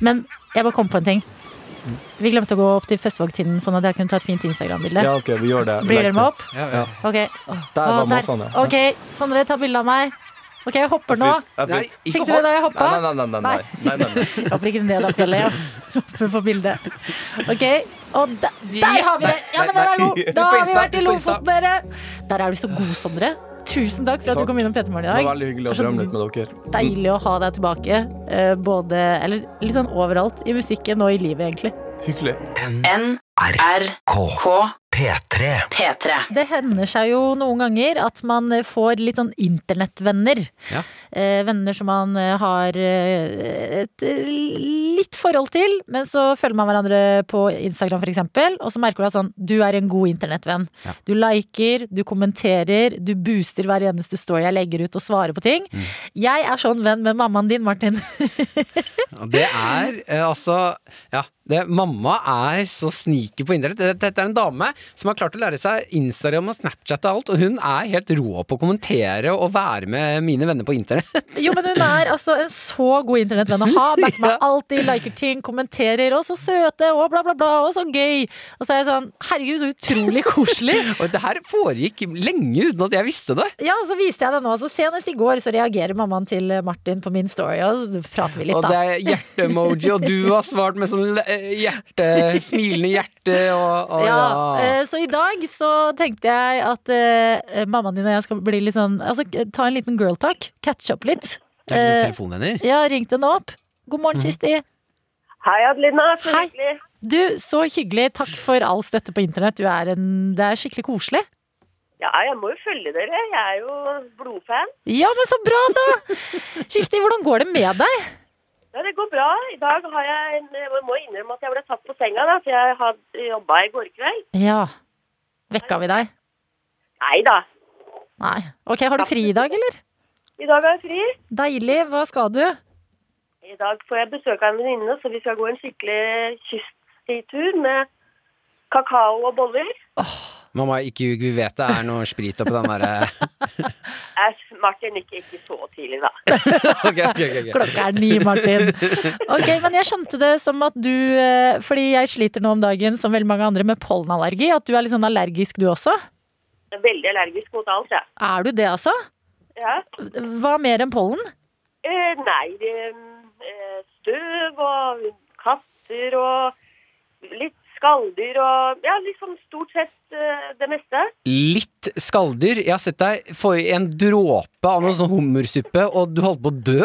Men jeg bare kom på en ting. Vi glemte å gå opp til Festvågtinden, sånn at jeg kunne ta et fint Instagram-bilde. Ja, OK, vi gjør det. Blir dere med opp? Ja, ja. Ja. Ok. Åh, Der var åh, måsene, ja. Ok, Sondre, ta bilde av meg. Ok, jeg hopper nå. Fint. Ja, Nei, fint. ikke Fikk du med hold- da jeg hoppa? Nei, nei, nei. nei, nei, nei, nei, nei. Jeg hopper ikke ned av fjellet. Jeg hopper på bildet. Ok, og der, der har vi det! Ja, men den er god! Da På har vi Insta, vært i på Insta. Lofoten, dere! Der er du så god, Sondre. Tusen takk for at Takk. du kom innom Petermorgen i Det dag. var veldig hyggelig å Det er så drømme litt med dere. Deilig å ha deg tilbake. eh, Både, eller litt sånn overalt. I musikken og i livet, egentlig. Hyggelig. NRK. P3. Det hender seg jo noen ganger at man får litt sånn internettvenner. Ja. Eh, venner som man eh, har eh, et litt forhold til, men så følger man hverandre på Instagram f.eks., og så merker du at sånn, du er en god internettvenn. Du liker, du kommenterer, du booster hver eneste story jeg legger ut og svarer på ting. Jeg er sånn venn med mammaen din, Martin. Og Det [laughs] er eh, altså Ja. Det, mamma er så sneaky på internett. Dette- Dette er en dame som har klart å lære seg Instagram og Snapchat og alt, og hun er helt rå på å kommentere og være med mine venner på internett. [laughs] Jo, men hun er altså en så god internettvenn å ha. [laughs] Backer meg alltid, liker ting, kommenterer. Og så søte, og bla, bla, bla. Og så gøy. Og så er jeg sånn Herregud, så [laughs] utrolig koselig. og det her foregikk lenge uten at jeg visste det. Ja, og så viste jeg det nå. Så senest i går så reagerer mammaen til Martin på min story, og så prater vi litt, Og det da. er hjerte-emoji, og du har svart med sånn eh, hjerte, smilende hjerte og, og Ja, eh, Så i dag så tenkte jeg at eh, mammaen din og jeg skal bli litt sånn Altså ta en liten girl talk. Catch up litt. Det er ikke Eh, sånn telefonvenner. Ja, ringte henne opp. God morgen, Mhm. Kirsti. Hei, Adelina. Så Hei. hyggelig. Du, så hyggelig. Takk for all støtte på internett. Du er en, det er skikkelig koselig. Ja, jeg må jo følge dere. Jeg er jo blodfan. Ja, men så bra, da! Kirsti, hvordan går det med deg? Ja, det går bra. I dag har jeg en Jeg må innrømme at jeg ble tatt på senga, da, for jeg hadde jobba i går kveld. Ja. Vekka vi deg? Nei da. Nei. Ok, Har du fri i dag, eller? I dag er jeg fri. Deilig. Hva skal du? I dag får jeg besøk av en venninne, så vi skal gå en skikkelig kysttur med kakao og boller. Mamma, ikke ljug, vi vet det er noe sprit oppi den derre [laughs] Æsj, Martin, ikke, ikke så tidlig, da. Klokka er ni, [laughs] Martin. Ok, men jeg skjønte det som at du eh, Fordi jeg sliter nå om dagen, som veldig mange andre, med pollenallergi. At du er litt sånn allergisk, du også? Jeg er veldig allergisk mot alt, jeg. Er du det, altså? Ja. Hva mer enn pollen? Eh, nei, eh, støv og katter og litt skalldyr og Ja, liksom stort sett eh, det meste. Litt skalldyr. Jeg har sett deg få i en dråpe av noe sånn hummersuppe, og du holdt på å dø.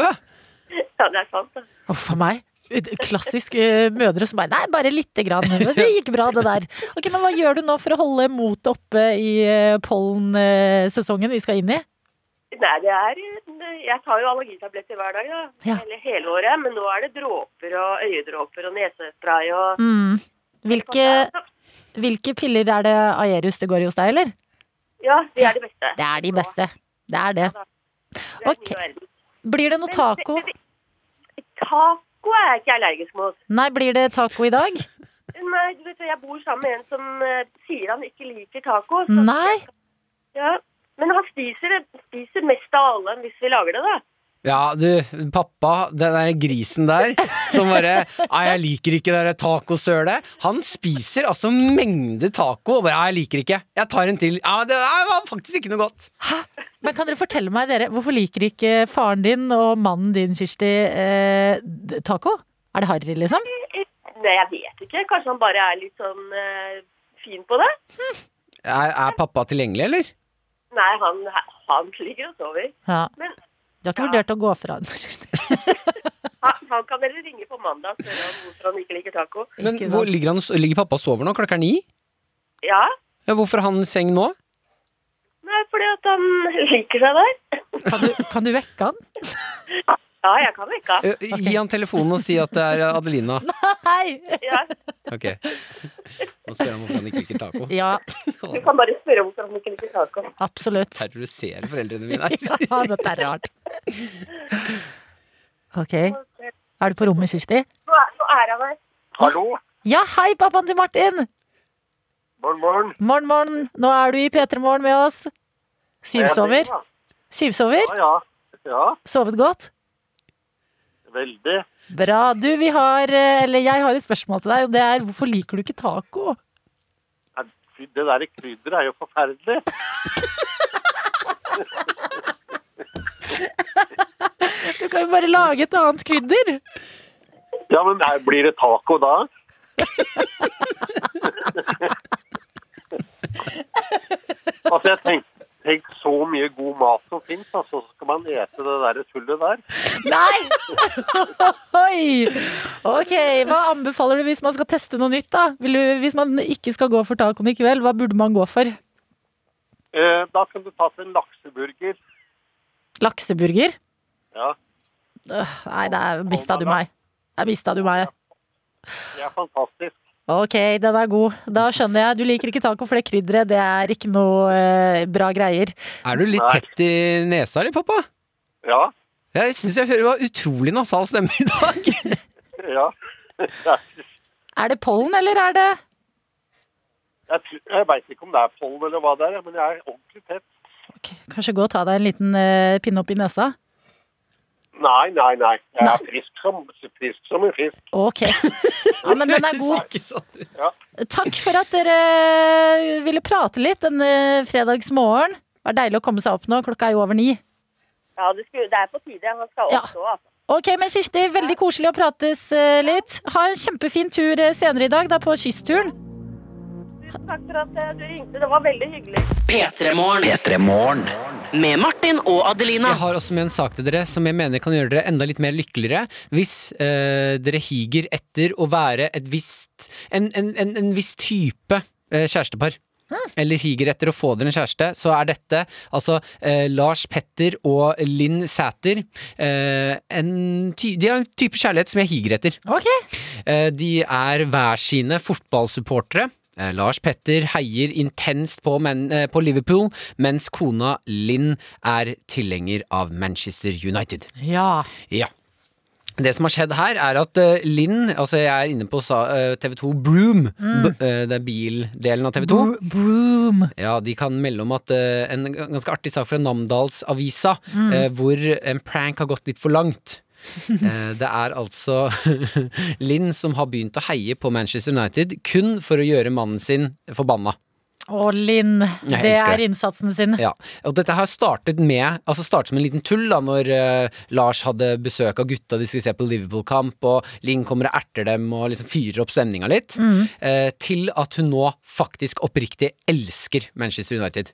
Ja, det er sant. da. Uff a meg. Klassisk eh, mødre som bare Nei, bare lite grann. Men det gikk bra, det der. Ok, Men hva gjør du nå for å holde motet oppe i eh, pollensesongen vi skal inn i? Nei, det er Jeg tar jo allergitabletter hver dag, da. Ja. Eller hele året. Men nå er det dråper og øyedråper og nesespray og Mm. Hvilke, hvilke piller er det Aerius det går i hos deg, eller? Ja, det er det beste. Det er de beste. Det er det. Det er den nye verden. Blir det noe taco? Taco er jeg ikke allergisk mot. Nei, blir det taco i dag? Nei, du vet, jeg bor sammen med en som eh, sier han ikke liker taco. så- Nei? Ja. Men han spiser, det- spiser mest av alle hvis vi lager det, da. Ja, du, pappa, den der grisen der som bare Nei, jeg liker ikke det der tacosølet. Han spiser altså mengde taco og bare Nei, jeg liker ikke. Jeg tar en til. Ja, men det der var faktisk ikke noe godt. Men kan dere fortelle meg, dere, hvorfor liker ikke faren din og mannen din, Kirsti, eh, d- taco? Er det harry, liksom? Nei, jeg vet ikke. Kanskje han bare er litt sånn eh, fin på det? Er, er pappa tilgjengelig, eller? Nei, han, han ligger og sover. Ja. Men Du har ikke vurdert å gå fra [laughs] den? Kirsti? han, han kan vel ringe på mandag og spørre om hvorfor han ikke liker taco. Men hvor ligger, han, ligger pappa og sover nå? Klokka er ni? Ja, Ja, hvorfor er han i seng nå? Nei, fordi at han liker seg der. Kan du vekke han? Ja, jeg kan vekke Eh, han. Gi han telefonen og si at det er Adelina. Nei! Ja. Ok. Nå spør han hvorfor han ikke liker taco. Ja. Du kan bare spørre hvorfor han ikke liker taco. Absolutt. Terrorisere foreldrene [laughs] mine [laughs] Ja, her. dette er rart. Ok. Er du på rommet, Kirsti? Nå er, nå er han her. Hallo? Ja, hei, pappaen til Martin! Morgen, morgen. Morgen, morgen. Nå er du i P3 Morgen med oss. Syvsover. Syvsover? Ja, ja. ja. Sovet godt? Veldig. Bra. Du, vi har eh, Eller jeg har et spørsmål til deg, og det er hvorfor liker du ikke taco? Ja, fy, Det der krydderet er jo forferdelig. Du kan jo bare lage et annet krydder. Ja, men nei, blir det taco [laughs] da? altså, jeg tenk- tenkte Tenk så mye god mat som fins, altså, så skal man ete det der tullet der. Nei! [laughs] Oi! Ok, hva anbefaler du hvis man skal teste noe nytt, da? Vil du, hvis man ikke skal gå for tacoen i kveld, hva burde man gå for? Eh, da kan du ta til en lakseburger. Lakseburger? Ja, Øh, Nei, der mista du meg. Der mista du meg. det er fantastisk. Ok, den er god. Da skjønner jeg. Du liker ikke taco, for det krydderet det er ikke noe eh, bra greier. Er du litt tett i nesa di, pappa? Ja. Jeg syns jeg hører du har utrolig nasal stemme i [laughs] dag. Ja. Er det pollen, eller er det Jeg, tr- jeg veit ikke om det er pollen eller hva det er, men jeg er ordentlig tett. Kanskje gå og ta deg en liten eh, pinne opp i nesa? Nei, nei, nei. Jeg er frisk som, frisk som en fisk. Ok. Ja, men [laughs] den er god. sånn Ja. Takk for at dere ville prate litt denne fredagsmorgen. Det var deilig å komme seg opp nå. Klokka er jo over ni. Ja, det, skulle, det er på tide. Man skal oppstå, altså. Ok, men Kirsti, veldig koselig å prates eh, litt. Ha en kjempefin tur eh, senere i dag, da på kystturen. Tusen takk for at eh, du ringte. Det var veldig hyggelig. P3morgen. Med Martin og Adelina. Jeg har også med en sak til dere som jeg mener kan gjøre dere enda litt mer lykkeligere hvis eh, dere higer etter å være et visst En, en, en, en viss type eh, kjærestepar. Eller higer etter å få dere en kjæreste, så er dette altså eh, Lars Petter og Linn Sæter eh, en ty De har en type kjærlighet som jeg higer etter. Eh, de er hver sine fotballsupportere. Eh, Lars Petter heier intenst på, men, eh, på Liverpool, mens kona Linn er tilhenger av Manchester United. Ja. Ja. Det som har skjedd her, er at eh, Linn Altså, jeg er inne på sa- eh, TV2 Broom. Mm. B eh, det er bildelen av TV2. Bro- Broom. Ja, de kan melde om at eh, en g- ganske artig sak fra Namdalsavisa, Mm. eh, hvor en prank har gått litt for langt. Eh, det er altså [laughs] Linn som har begynt å heie på Manchester United kun for å gjøre mannen sin forbanna. Å, Linn. Jeg Det elsker er det. innsatsen sin. Ja, og dette har startet med Altså startet som en liten tull da Når eh, Lars hadde besøk av gutta De skulle se på Liverpool-kamp Og Linn kommer og erter dem Og liksom fyrer opp stemninga litt Mm. eh, Til at hun nå faktisk oppriktig elsker Manchester United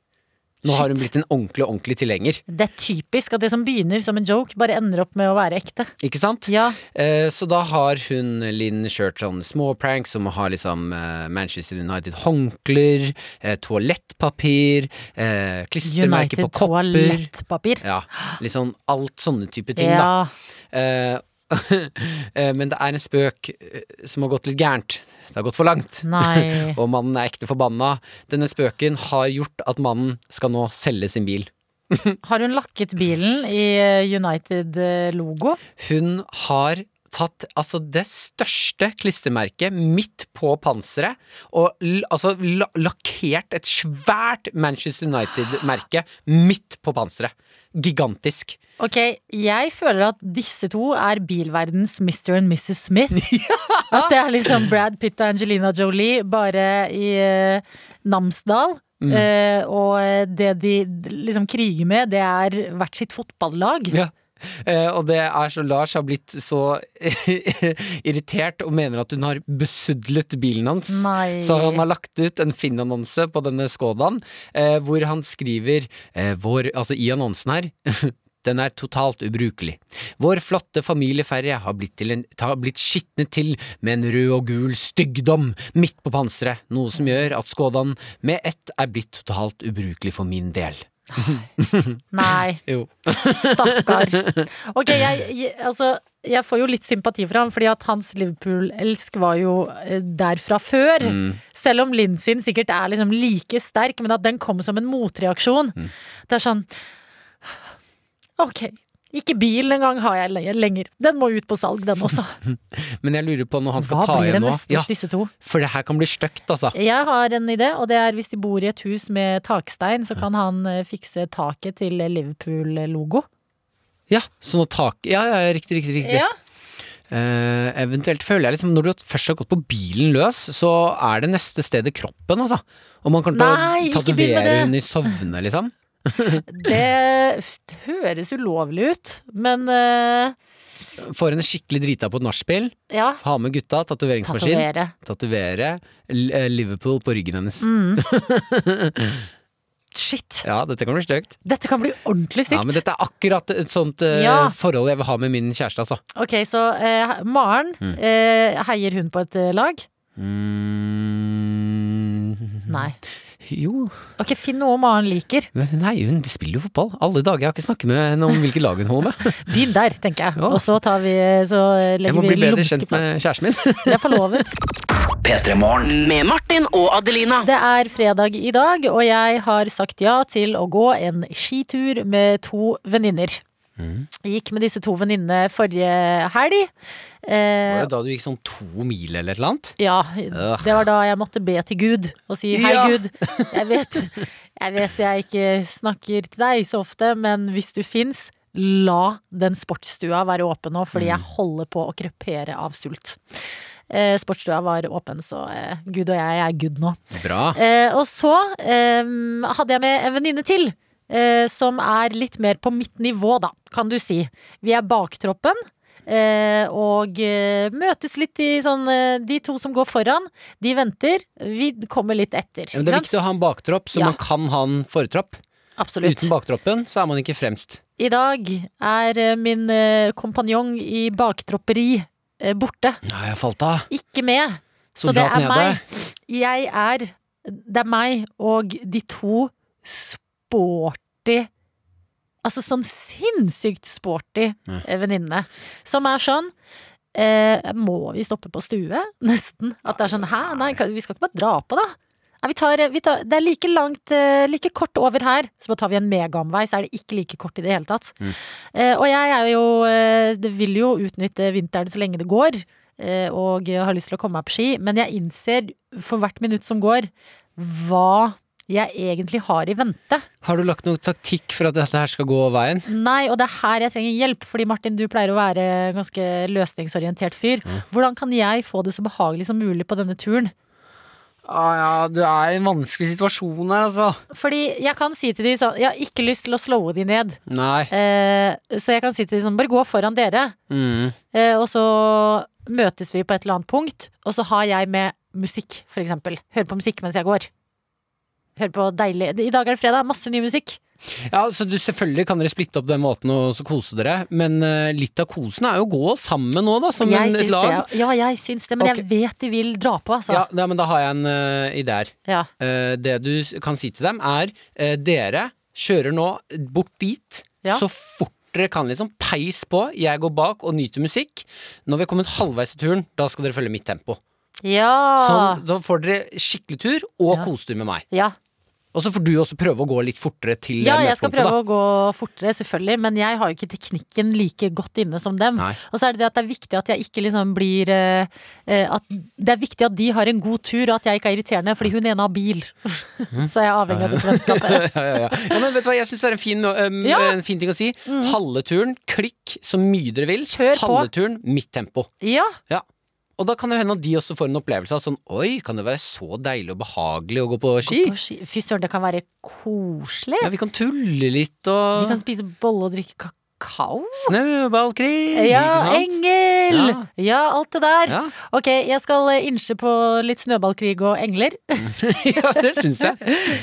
Nå har hun blitt en ordentlig, ordentlig tilhenger Det er typisk at det som begynner som en joke, bare ender opp med å være ekte. Ikke sant? Eh, så da har hun Linn kjørt sånn små pranks som å ha liksom eh, Manchester United håndklær, eh, toalettpapir, eh, klistremerker United på kopper. toalettpapir. Ja, litt sånn alt sånne type ting, Ja. da. Eh, [laughs] eh, men det er en spøk eh, som har gått litt gærent. Det har gått for langt. Nei. [laughs] Og mannen er ekte forbanna. Denne spøken har gjort at mannen skal nå selge sin bil. Har hun lakket bilen i eh, United-logo? Hun har tatt altså det største klistremerket midt på panseret og l altså la lakkert et svært Manchester United-merke midt på panseret. Gigantisk. Ok, jeg føler at disse to er bilverdens Mr. and Mrs. [laughs] Smith. At det er liksom Brad Pitt og Angelina Jolie bare i eh, Namsdal. Mm. Eh, og det de liksom kriger med, det er hvert sitt fotballag. Ja. Eh, og det er så Lars har blitt så [laughs] irritert og mener at hun har besudlet bilen hans. Nei. Så han har lagt ut en Finn-annonse på denne Skodaen, eh, hvor han skriver eh, vår, altså i annonsen her [laughs] Den er totalt ubrukelig. Vår flotte familieferje har blitt, til en, har blitt skitnet til med en rød og gul styggdom midt på panseret, noe som gjør at Skodaen med ett er blitt totalt ubrukelig for min del. Nei. Jo. Stakkar. Ok, jeg, jeg, altså, jeg får jo litt sympati for han, fordi at hans Liverpool-elsk var jo eh, der fra før. Mm. Selv om Linn sin sikkert er liksom like sterk, men at den kom som en motreaksjon. Mm. Det er sånn Ok, ikke bilen engang har jeg le- lenger. Den må ut på salg, den [laughs] også. Men jeg lurer på når han skal Hva ta blir igjen det nå. neste hos disse to? For det her kan bli stygt, altså. Jeg har en idé, og det er hvis de bor i et hus med takstein, så kan han eh, fikse taket til Liverpool-logo. Ja, sånn at tak Ja, ja, riktig, riktig. riktig. Ja. Eh, eventuelt føler jeg liksom Når du først har gått på bilen løs, så er det neste stedet kroppen, altså. Og man kan ta, Nei, ikke begynn med tatovere det. hun i søvne, liksom. Det høres ulovlig ut, men eh, Får henne skikkelig drita på et nachspiel. ja. Ha med gutta, tatoveringsmaskin. Tatovere. Tatovere L- eh, Liverpool på ryggen hennes. Mm. shit. Ja, dette kan bli stygt. Dette kan bli ordentlig stygt. Ja, men dette er akkurat et sånt eh, Ja. forhold jeg vil ha med min kjæreste, altså. Ok, så eh, Maren, Mm. eh, heier hun på et eh, lag? Mm. Nei. Jo, Ok, Finn noe Maren liker. men nei, hun spiller jo fotball. Alle dager. Jeg har ikke snakket med henne om hvilke lag hun holder med. Begynn der, tenker jeg. Og så, tar vi, så eh, Jeg legger må vi bli bedre lumske kjent med kjæresten min. [laughs] Jeg er forlovet. Med Martin og Adelina. Det er fredag i dag, og jeg har sagt ja til å gå en skitur med to venninner. Mm. Jeg Gikk med disse to venninnene forrige helg. Eh, Var det da du gikk sånn to mil eller et eller annet? ja, Ugh. det var da jeg måtte be til Gud og si hei, Ja. Gud. Jeg vet, jeg vet jeg ikke snakker til deg så ofte, men hvis du fins, la den sportsstua være åpen nå, fordi Mm. jeg holder på å krepere av sult. Eh, sportsstua var åpen, så eh, Gud og jeg er good nå. Bra. Eh, og så ehm, hadde jeg med en venninne til. eh, som er litt mer på mitt nivå, da, kan du si. Vi er baktroppen. eh, og eh, møtes litt i sånn eh, De to som går foran, de venter. Vi kommer litt etter. Ja, men det er ikke sant? viktig å ha en baktropp, så Ja. man kan ha en fortropp. Absolutt. Uten baktroppen så er man ikke fremst. I dag er eh, min eh, kompanjong i baktropperi eh, borte. Nei, jeg falt av. Ikke med. Så det Soldat er nede. meg. Jeg er Det er meg og de to sporty Altså sånn sinnssykt sporty Ja. eh, venninnene. Som er sånn eh, Må vi stoppe på stue? [laughs] Nesten. At det er sånn Hæ, nei, kan- vi skal ikke bare dra på, da. Nei, vi tar, vi tar, det er like langt, eh, like kort over her, så bare tar vi en megaomvei, så er det ikke like kort i det hele tatt. Eh, og jeg er jo eh, det vil jo utnytte vinteren så lenge det går, eh, og jeg har lyst til å komme meg på ski, men jeg innser for hvert minutt som går, hva jeg egentlig har i vente. Har du lagt noen taktikk for at dette her skal gå veien? Nei, og det er her jeg trenger hjelp, fordi Martin, du pleier å være en ganske løsningsorientert fyr. Hvordan kan jeg få det så behagelig som mulig på denne turen? Ah, ja, du er i en vanskelig situasjon her, altså. Fordi jeg kan si til de sånn, jeg har ikke lyst til å slåe de ned. Nei. Eh, så jeg kan si til de sånn, bare gå foran dere. Mm. Eh, og så møtes vi på et eller annet punkt, og så har jeg med musikk, for eksempel. Hører på musikk mens jeg går. Hører på deilig I dag er det fredag, masse ny musikk. Ja, så du, Selvfølgelig kan dere splitte opp den måten og så kose dere, men eh, litt av kosen er jo å gå sammen nå, da, som jeg en, et syns lag. det. Ja, jeg syns det, men jeg vet de vil dra på, altså. Ja, nei, men da har jeg en eh, idé her. Ja. Eh, det du s- kan si til dem, er eh, dere kjører nå bort dit Ja. så fort dere kan. liksom Peis på, jeg går bak og nyter musikk. Når vi har kommet halvveis i turen, da skal dere følge mitt tempo. Ja. Sånn, da får dere skikkelig tur, og Ah. Ja. kose dere med meg. Ja. Og så får du også prøve å gå litt fortere til Ja, eh, jeg skal møtepunktet, prøve å da. [laughs] gå fortere, selvfølgelig, men jeg har jo ikke teknikken like godt inne som dem. Nei. Og så er det det at det er viktig at jeg ikke liksom blir eh, eh, at Det er viktig at de har en god tur, og at jeg ikke er irriterende, fordi hun ene har bil. [laughs] Mhm. så jeg er avhengig av det vennskapet. ja, ja, ja. ja, men vet du hva, jeg syns det er en fin, øhm, Ja. Mm. en fin ting å si. Halve turen, klikk så mye dere vil. Kjør på. Halve turen, mitt tempo. Ja. [laughs] Ja. Og da kan det hende at de også får en opplevelse av sånn Oi, kan det være så deilig og behagelig å gå på ski? På ski- Fy søren, det kan være koselig. Ja, vi kan tulle litt Vi og kan spise bolle og drikke kakao. Snøballkrig, Ja, ikke sant? engel! Ja. Ja. alt det der. Ja. Ok, jeg skal eh, innse på litt snøballkrig og engler. [laughs] ja, det syns jeg.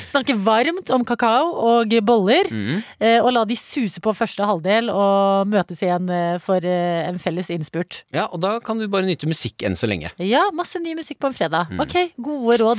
Snakke varmt om kakao og boller. Mm. eh, Og la de suse på første halvdel og møtes igjen eh, for eh, en felles innspurt. Ja, og da kan du bare nyte musikk enn så lenge. Ja, masse ny musikk på en fredag. Ok, gode råd.